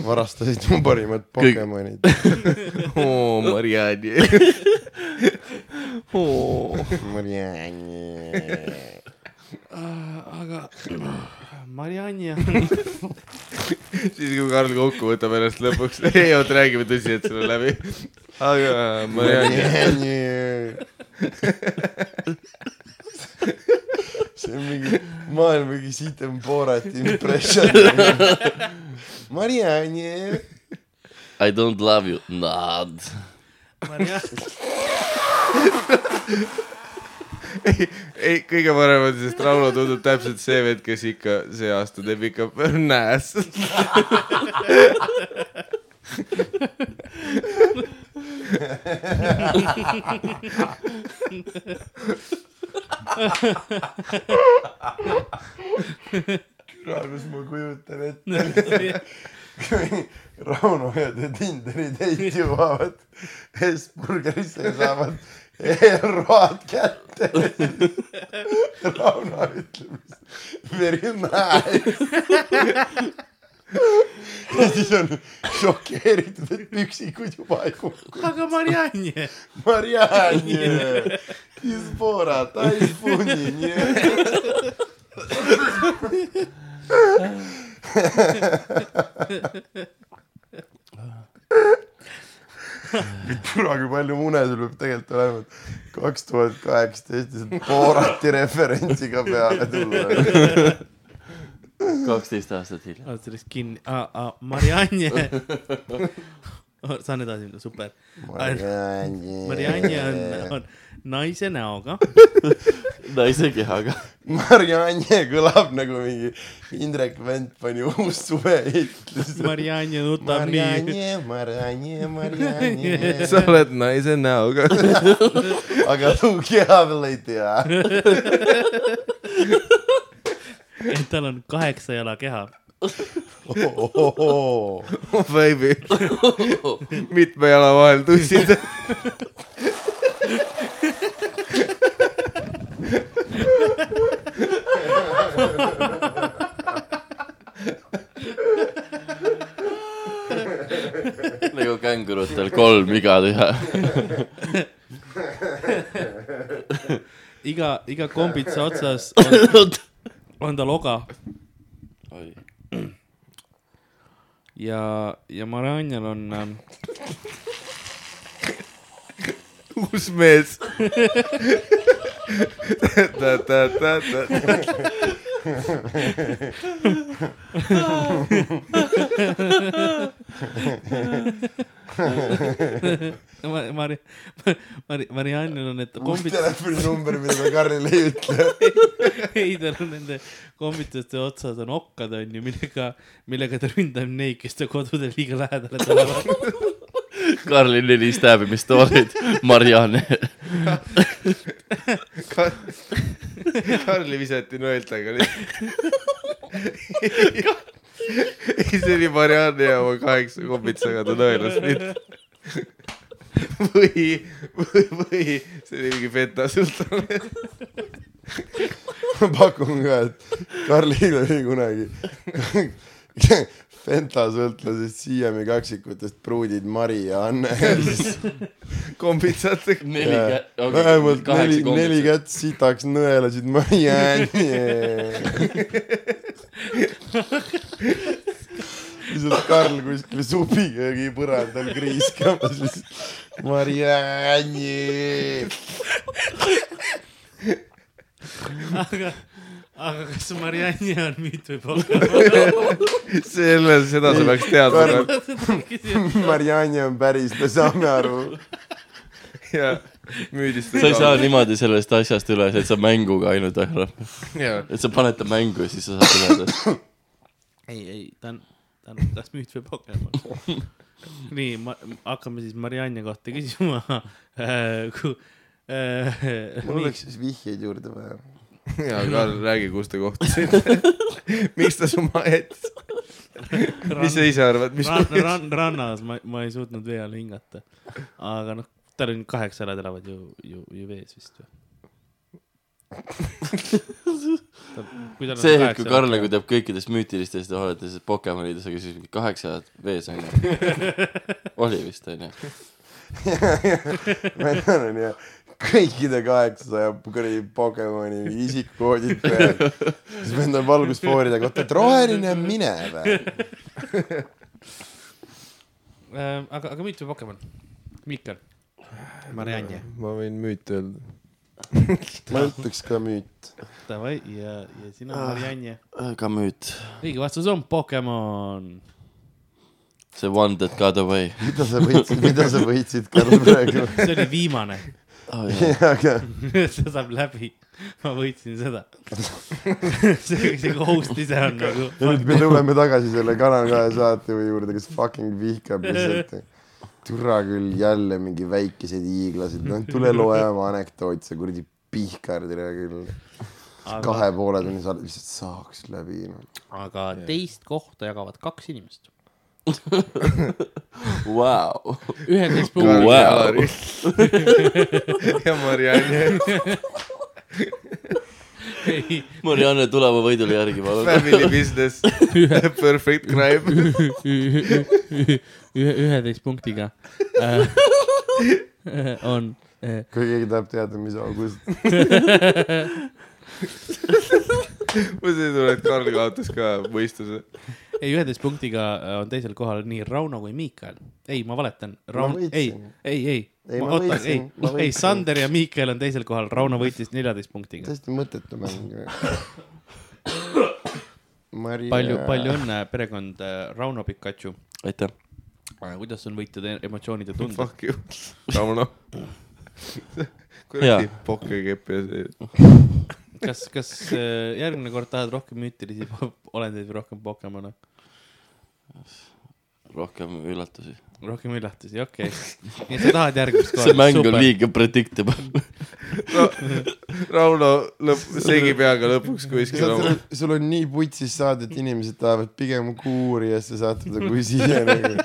Speaker 3: varastasid mu parimad Pokemonid .
Speaker 5: oo , Marianne .
Speaker 2: aga Marianne on ,
Speaker 5: siis , kui Karl kokku võtab ennast lõpuks , ei oota , räägime tõsiselt selle läbi . aga Marianne .
Speaker 3: see on mingi maailma kõige sitem Borat impression . Marianne .
Speaker 6: I don't love you , nad .
Speaker 2: Marianne ,
Speaker 5: ei , kõige parem on , sest Rauno tundub täpselt see vend , kes ikka see aasta teeb ikka näes .
Speaker 3: kuidas ma kujutan ette , Rauno ja ta Tinderi teid jõuavad Hesburgerisse ja saavad ERO-d kätte . Rauno ütleb , very nice . ja siis on šokeeritud , et püksikud juba ei kuku .
Speaker 2: aga Marianne .
Speaker 3: Marianne , Hezbora , Taifuni . kunagi palju mune sul peab tegelikult olema , et kaks tuhat kaheksateist lihtsalt Borati referentsiga peale tulla .
Speaker 6: kaksteist aastat hiljem .
Speaker 2: oled sellest kinni , Marianne . [LAUGHS] saan edasi minna , super . Marianne on , on naise näoga ,
Speaker 6: naise kehaga .
Speaker 3: Marianne kõlab nagu mingi Indrek Vent pani uus suvehitt lihtsalt .
Speaker 2: Marianne nutab nii .
Speaker 3: Marianne , Marianne , Marianne ,
Speaker 5: sa oled naise näoga .
Speaker 3: aga [LAUGHS] su keha veel ei
Speaker 2: [LAUGHS]
Speaker 3: tea .
Speaker 2: et tal on kaheksa jala keha .
Speaker 3: [LAUGHS]
Speaker 5: oh baby . mitme jala vahel tussid .
Speaker 6: nagu kängurutel kolm igalühe .
Speaker 2: iga , iga kombitsa otsas on, on tal oga
Speaker 6: oi ,
Speaker 2: ja , ja Maranjal on ähm,
Speaker 5: uus mees . ta-ta-ta-ta-ta .
Speaker 2: Mari- , Mari- , Mari- , Mariannil on need kombits ,
Speaker 7: telefoninumber , mida me Karlile ei ütle .
Speaker 2: [LAUGHS] ei tal on nende kombitsaste otsas on okkad onju , millega , millega ta ründab neid , kes ta kodudel liiga lähedale tulevad .
Speaker 6: Karli neli stäbimistoolid , Marianne .
Speaker 5: Karli visati nõeltega lihtsalt . ei , see oli Marianne ja oma kaheksa kombitsaga ta nõelas mind . või , või , või see oli mingi feta sultan .
Speaker 7: ma pakun ka , et Karlil oli kunagi Fenta sõltlasest siiami kaksikutest pruudid Mari ja Anne .
Speaker 5: kombitsatega .
Speaker 6: neli kä- okei,
Speaker 7: vähemalt
Speaker 6: kaheksa
Speaker 7: neli ,
Speaker 6: kombitsa.
Speaker 7: neli kätt sitaks nõelasid Mari ja Anne . lihtsalt Karl kuskil supiköögi põrandal kriiskamas lihtsalt . Mari ja Anne .
Speaker 2: aga , aga kas Marianni on müüt või [LAUGHS] pokal ?
Speaker 5: [LAUGHS] selle , seda sa peaks teadma .
Speaker 7: Marianne on päris , me saame aru .
Speaker 5: ja müüdis
Speaker 6: sa ei saa . niimoodi sellest asjast üle , et sa mänguga ainult haarad .
Speaker 5: jaa ,
Speaker 6: et sa paned ta mängu ja siis sa saad üle sellest .
Speaker 2: ei , ei ta on , ta on kas müüt või pokal . nii , ma , hakkame siis Marianni kohta küsima [LAUGHS] äh, . Äh,
Speaker 7: mul oleks siis vihjeid juurde vaja .
Speaker 5: jaa , Karl , räägi , kus te kohtusite . miks ta su maha jättis ? mis sa ise arvad , mis
Speaker 2: ran, ? ran, rannas ma , ma ei suutnud vee all hingata . aga noh , tal on kaheksa ära elavad ju , ju , ju vees vist ju .
Speaker 6: see hetk , kui Karl nagu teab kõikidest müütilistest ja oledest Pokemonidest , aga siis mingi kaheksa ajad vees onju . oli vist onju .
Speaker 7: ma tean , onju , kõikide kaheksasaja kuradi Pokemoni isikukoodid peal . siis vend on valgusfooridega , oota , et roheline on minev .
Speaker 2: [LAUGHS] äh, . aga , aga mitu Pokemon ? Mikkel . Marianne .
Speaker 5: ma võin müüt öelda .
Speaker 7: ma ütleks ka müüt .
Speaker 2: Davai ja , ja sina Marianne .
Speaker 6: ka müüt .
Speaker 2: õige vastus on Pokemon .
Speaker 6: see one that got away
Speaker 7: mida sa võitsid , mida sa võitsid , Karl , praegu ?
Speaker 2: see oli viimane , [LAUGHS]
Speaker 6: oh, .
Speaker 7: aga
Speaker 2: see saab läbi . ma võitsin seda . [LAUGHS] see , see host ise on nagu .
Speaker 7: ja nüüd me tuleme tagasi selle Kanal kahe saatejuhi juurde , kes fucking vihkab lihtsalt . türa küll jälle mingi väikesed hiiglased , noh tule loe oma anekdoot , sa kuradi pihkar türa küll . kahe poole tunni saade lihtsalt saaks läbi noh. no. .
Speaker 2: aga teist kohta jagavad kaks inimest .
Speaker 6: Wow.
Speaker 2: üheteist puhul .
Speaker 6: Wow.
Speaker 5: [LAUGHS] ja Marianne ,
Speaker 2: ei ,
Speaker 6: Marianne , tule oma võidule järgi , palun .
Speaker 5: family business , [LAUGHS] perfect crime .
Speaker 2: ühe , üheteist punktiga äh, on äh, [LAUGHS]
Speaker 7: kui keegi tahab teada , mis august ,
Speaker 5: ma sain aru , et Karl kaotas ka mõistuse .
Speaker 2: ei , üheteist punktiga äh, on teisel kohal nii Rauno kui Miikael . ei , ma valetan . Rauno , ei ,
Speaker 7: võitsin.
Speaker 2: ei , ei,
Speaker 7: Ei,
Speaker 2: ei ,
Speaker 7: ma
Speaker 2: oota ,
Speaker 7: võitsin,
Speaker 2: ei
Speaker 7: ma ,
Speaker 2: ei ,
Speaker 7: võitsin.
Speaker 2: Sander ja Miikael on teisel kohal , Rauno võitis neljateist punktiga .
Speaker 7: täiesti mõttetu mäng .
Speaker 2: [LAUGHS]
Speaker 7: Maria .
Speaker 2: palju , palju . õnne , perekond äh, Rauno Pikachu .
Speaker 6: aitäh .
Speaker 2: kuidas on võitjad e- emotsioonid ja tunded ?
Speaker 5: Fuck you , Rauno .
Speaker 6: Jaa.
Speaker 5: kuradi pokkekepp ja see .
Speaker 2: kas , kas äh, järgmine kord tahad rohkem müütilisi po- olendeid või rohkem Pokemone ?
Speaker 6: rohkem üllatusi .
Speaker 2: rohkem üllatusi ,
Speaker 7: [LAUGHS]
Speaker 2: okei okay. . nii , sa tahad järgmist kohta ?
Speaker 6: see mäng on . liiga predictable .
Speaker 5: Rauno lõpp , segi peaga lõpuks kuskil oma .
Speaker 7: sul on nii putsis saade , et inimesed tahavad pigem Kuuriasse sattuda kui siia nagu. .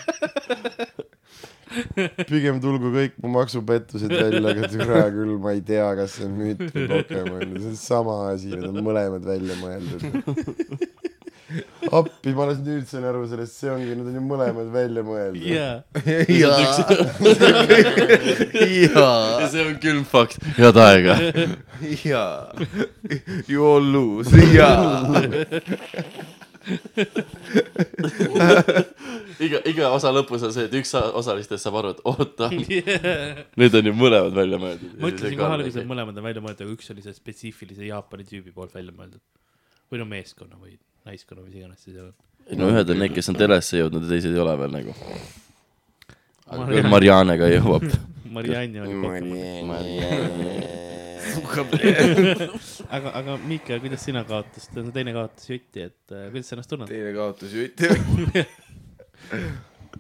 Speaker 7: pigem tulgu kõik mu maksupettused välja , aga türa küll , ma ei tea , kas see on müüt või Pokemon , see on sama asi , need on mõlemad välja mõeldud .
Speaker 3: appi , ma alles nüüd sain aru sellest , see ongi , need on ju mõlemad välja mõeldud .
Speaker 2: jaa , [LAUGHS]
Speaker 5: [LAUGHS] jaa ,
Speaker 6: ja see on külm fakt , head aega .
Speaker 5: jaa . You all lose , jaa .
Speaker 6: iga , iga osa lõpus on see , et üks osalistest saab aru , et oota , need on ju mõlemad välja mõeldud .
Speaker 2: ma ütlesin kohe alguses , et mõlemad on välja mõeldud , aga üks oli see spetsiifilise Jaapani tüübi poolt välja mõeldud . või no meeskonna või naiskonna , mis iganes see seal on .
Speaker 6: no ühed on need , kes on telesse jõudnud ja teised ei ole veel nagu .
Speaker 2: Marianne-
Speaker 6: Marianne ka jõuab .
Speaker 2: Marianne oli Pokemon . aga , aga Miika , kuidas sina kaotasid , see on teine kaotus jutti , et äh, kuidas sa ennast tunned ?
Speaker 5: teine kaotus jutti .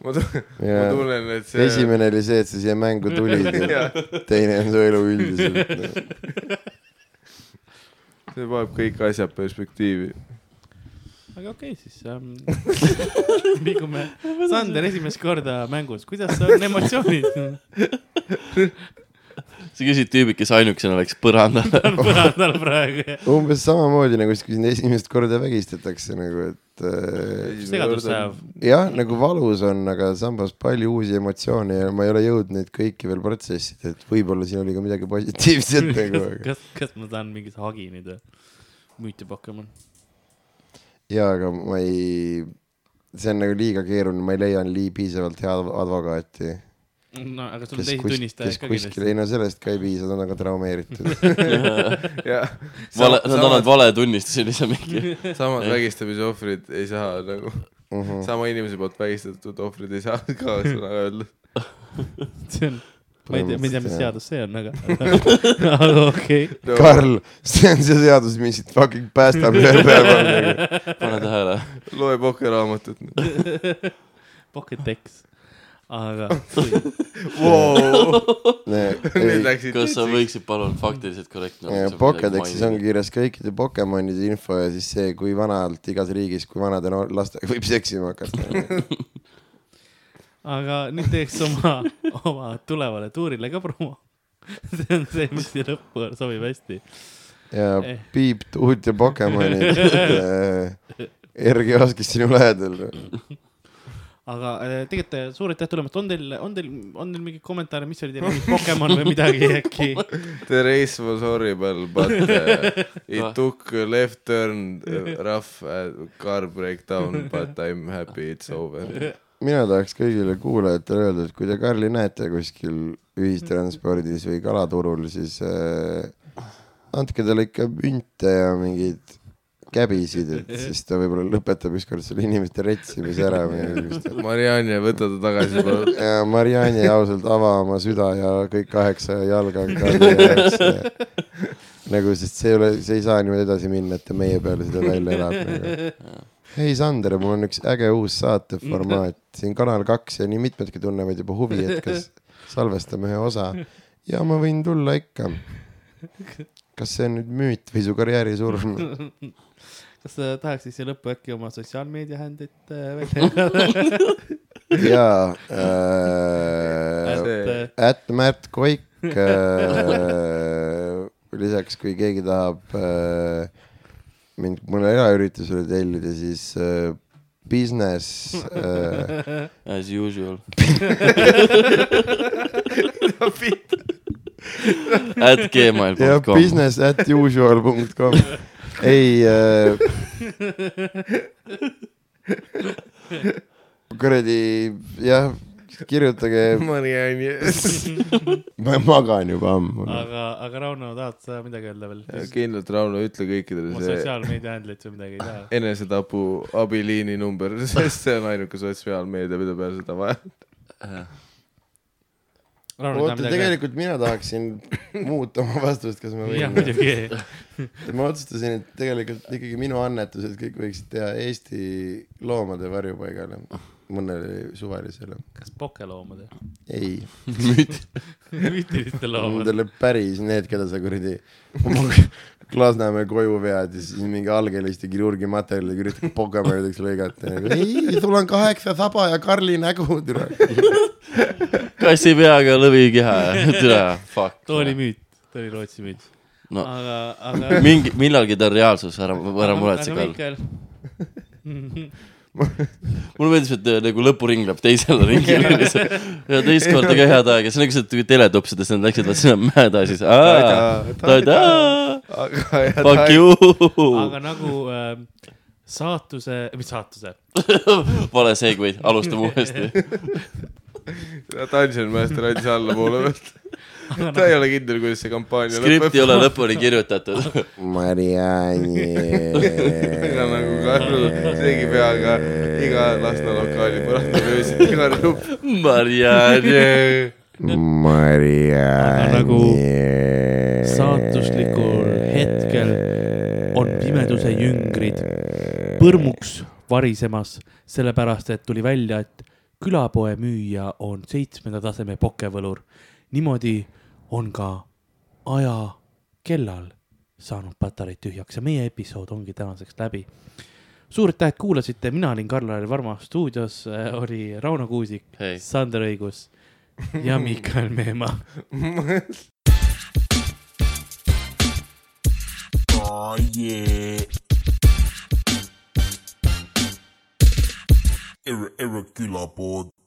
Speaker 5: ma tu- ma
Speaker 3: jaa ,
Speaker 5: tunnen , et see .
Speaker 3: esimene oli see , et sa siia mängu tulid ja
Speaker 5: [LAUGHS] jah ,
Speaker 3: teine on su elu üldiselt .
Speaker 5: see paneb kõik asjad perspektiivi .
Speaker 2: aga okei okay, , siis ähm, [LAUGHS] liigume . Sander esimest korda mängus , kuidas on emotsioonid ?
Speaker 3: [LAUGHS]
Speaker 6: sa küsid tüübid , kes ainukesena läks
Speaker 2: [LAUGHS]
Speaker 6: põrandale .
Speaker 2: on põrandal praegu .
Speaker 3: umbes samamoodi nagu siis , kui sind esimest korda vägistatakse nagu , et äh,
Speaker 2: segadust
Speaker 3: [LAUGHS]
Speaker 2: ajav .
Speaker 3: jah , nagu valus on , aga samas palju uusi emotsioone ja ma ei ole jõudnud neid kõiki veel protsessida , et võib-olla siin oli ka midagi positiivset nagu , aga
Speaker 2: kas , kas ma saan mingi hagi nüüd või ? müüti Pokemon .
Speaker 3: jaa , aga ma ei , see on nagu liiga keeruline , ma ei leia lii piisavalt head advokaati .
Speaker 2: no aga sul on
Speaker 3: kes
Speaker 2: teisi
Speaker 3: kuskil , kes
Speaker 2: tunnistajaid ka
Speaker 3: kuskil ,
Speaker 2: kindlasti .
Speaker 3: ei no sellest ka ei piisa , nad on ka
Speaker 2: [LAUGHS]
Speaker 3: traumeeritud .
Speaker 5: jah ,
Speaker 6: vale , nad annavad vale tunnistusi lihtsalt mingi .
Speaker 5: samad vägistamise ohvrid ei saa nagu mm ,
Speaker 3: Mhm. Noh.
Speaker 5: -hmm. sama inimese poolt vägistatud ohvrid ei saa ka sõna öelda .
Speaker 2: [LAUGHS] see on , ma ei tea , ma ei tea , mis
Speaker 3: Põhimõtteliselt, jah.
Speaker 2: seadus see on , aga , [LAUGHS] aga okei .
Speaker 3: Karl , see on see seadus , mis sind fucking päästab
Speaker 2: [LAUGHS]
Speaker 3: ühel päeval nagu. .
Speaker 6: pane tähele .
Speaker 5: loe pokerraamatut .
Speaker 2: Pocket X , aga
Speaker 5: Need
Speaker 3: Nee, ei,
Speaker 5: läksid
Speaker 6: kas sa võiksid palun faktiliselt korrektne
Speaker 3: ja Pokedexis ongi kirjas kõikide Pokemonide info ja siis see , kui vanalt igas riigis , kui vanade no, lastega [LAUGHS] võib seksima hakata .
Speaker 2: aga nüüd teeks oma , oma tulevale tuurile ka promo . [LAUGHS] see on see , mis siia lõppu sobib hästi .
Speaker 3: ja
Speaker 2: Eh.
Speaker 3: Piip , Tuut ja Pokemonid .
Speaker 2: [LAUGHS]
Speaker 3: eh, Erki Oskis sinu lähedal .
Speaker 2: aga äh, tegelikult äh, suur aitäh tulemast , on teil , on teil , on teil mingi kommentaare , mis oli teil mingi Pokemon või midagi äkki ?
Speaker 5: Therese was horrible but
Speaker 3: [LAUGHS]
Speaker 5: uh, it took a left turn uh, rough uh, car breakdown but I am happy it's over .
Speaker 3: mina tahaks kõigile kuulajatele öelda , et kui te Karli näete kuskil ühistranspordis või kalaturul , siis äh, andke talle ikka münte ja mingeid käbisid , et siis ta võib-olla lõpetab ükskord selle inimeste retsimise ära või midagi .
Speaker 5: [LAUGHS] Marianne , võta ta tagasi palun .
Speaker 3: [LAUGHS] ja Marianne ausalt ava oma süda ja kõik kaheksa jalga Karli jaoks ja, . nagu , sest see ei ole , see ei saa niimoodi edasi minna , et ta meie peale seda välja elab nagu. . hei , Sander , mul on üks äge uus saateformaat siin Kanal kaks ja nii mitmedki tunnevad juba huvi , et kas salvestame ühe osa ja ma võin tulla ikka . kas see on nüüd müüt või su karjääri surm ?
Speaker 2: [LAUGHS] kas sa tahaksid siia lõppu äkki oma sotsiaalmeedia händit äh, [LAUGHS] välja öelda ?
Speaker 3: [LAUGHS] jaa äh, .
Speaker 2: [LAUGHS] et
Speaker 3: at Märt Koik äh, . lisaks , kui keegi tahab äh, mind mõne eraüritusele tellida , siis äh, business äh, ,
Speaker 6: As usual . At
Speaker 3: jah ,
Speaker 6: gmail.com .
Speaker 3: business at usual punkt com . ei äh, . kuradi , jah , kirjutage ,
Speaker 5: Marianne .
Speaker 3: ma magan juba ammu
Speaker 2: äh, . aga , aga Rauno , tahad sa midagi öelda veel ?
Speaker 5: [LAUGHS] kindlalt Rauno , ütle kõikidele
Speaker 2: oma
Speaker 5: see
Speaker 2: sotsiaalmeedia händlit või midagi ei tea ?
Speaker 5: enesetapu abiliini number , [LAUGHS] sest see on ainuke sotsiaalmeedia , mida peale seda vaja . [LAUGHS]
Speaker 2: Rauno ,
Speaker 3: oota ,
Speaker 2: midagi ?
Speaker 3: tegelikult mina tahaksin muuta oma vastust , kas ma võin .
Speaker 2: jah , muidugi .
Speaker 3: Et ma otsustasin , et tegelikult ikkagi minu annetused kõik võiksid teha Eesti loomade varjupaigale , mõnele suvalisele .
Speaker 2: kas pokeloomade ?
Speaker 3: ei ,
Speaker 2: [LAUGHS] müütiliste loomade ?
Speaker 3: nendele päris need , keda sa kuradi oma Lasnamäe koju vead ja siis mingi algeliste kirurgi materjaliga üritad pokamöödaks lõigata . ei , sul on kaheksa saba ja Karli nägu , türa .
Speaker 6: kassi peaga lõvikeha , türa , fuck .
Speaker 2: too oli müüt , too oli Rootsi müüt .
Speaker 6: No.
Speaker 2: aga , aga . nagu
Speaker 6: mingi , millalgi ta on reaalsus , ära , ära muretse , Karl .
Speaker 2: Karl .
Speaker 6: mulle meeldis , et äh, nagu lõpuring läheb teisele ringile lihtsalt ja teist korda ka head aega , see on nagu see teletopsides , nad läksid vaat sinna mäe taha , siis aa, ta-taa ,
Speaker 5: aga jah ,
Speaker 6: fuck you .
Speaker 2: aga nagu äh, saatuse , mis saatuse ,
Speaker 6: vale segway , alustame uuesti .
Speaker 5: Dungeon Master andis alla poole pealt . ta ei ole kindel , kuidas see kampaania
Speaker 6: skript
Speaker 5: [LAUGHS]
Speaker 6: ei ole lõpuni kirjutatud .
Speaker 5: Ega nagu Karl seegi peaga iga Lasna lokaali põrandal öösel karjub .
Speaker 6: Marianne .
Speaker 2: aga nagu saatuslikul hetkel on pimeduse jüngrid põrmuks varisemas , sellepärast et tuli välja , et külapoe müüja on seitsmenda taseme pokevõlur . niimoodi on ka aja kellal saanud patareid tühjaks ja meie episood ongi tänaseks läbi . suur aitäh , et kuulasite , mina olin Karl-Lari Varma , stuudios äh, oli Rauno Kuusik
Speaker 6: Hei.
Speaker 2: Sander Õigus ja Miikael Meemaa .
Speaker 1: Oh yeah. Ir- irregular board.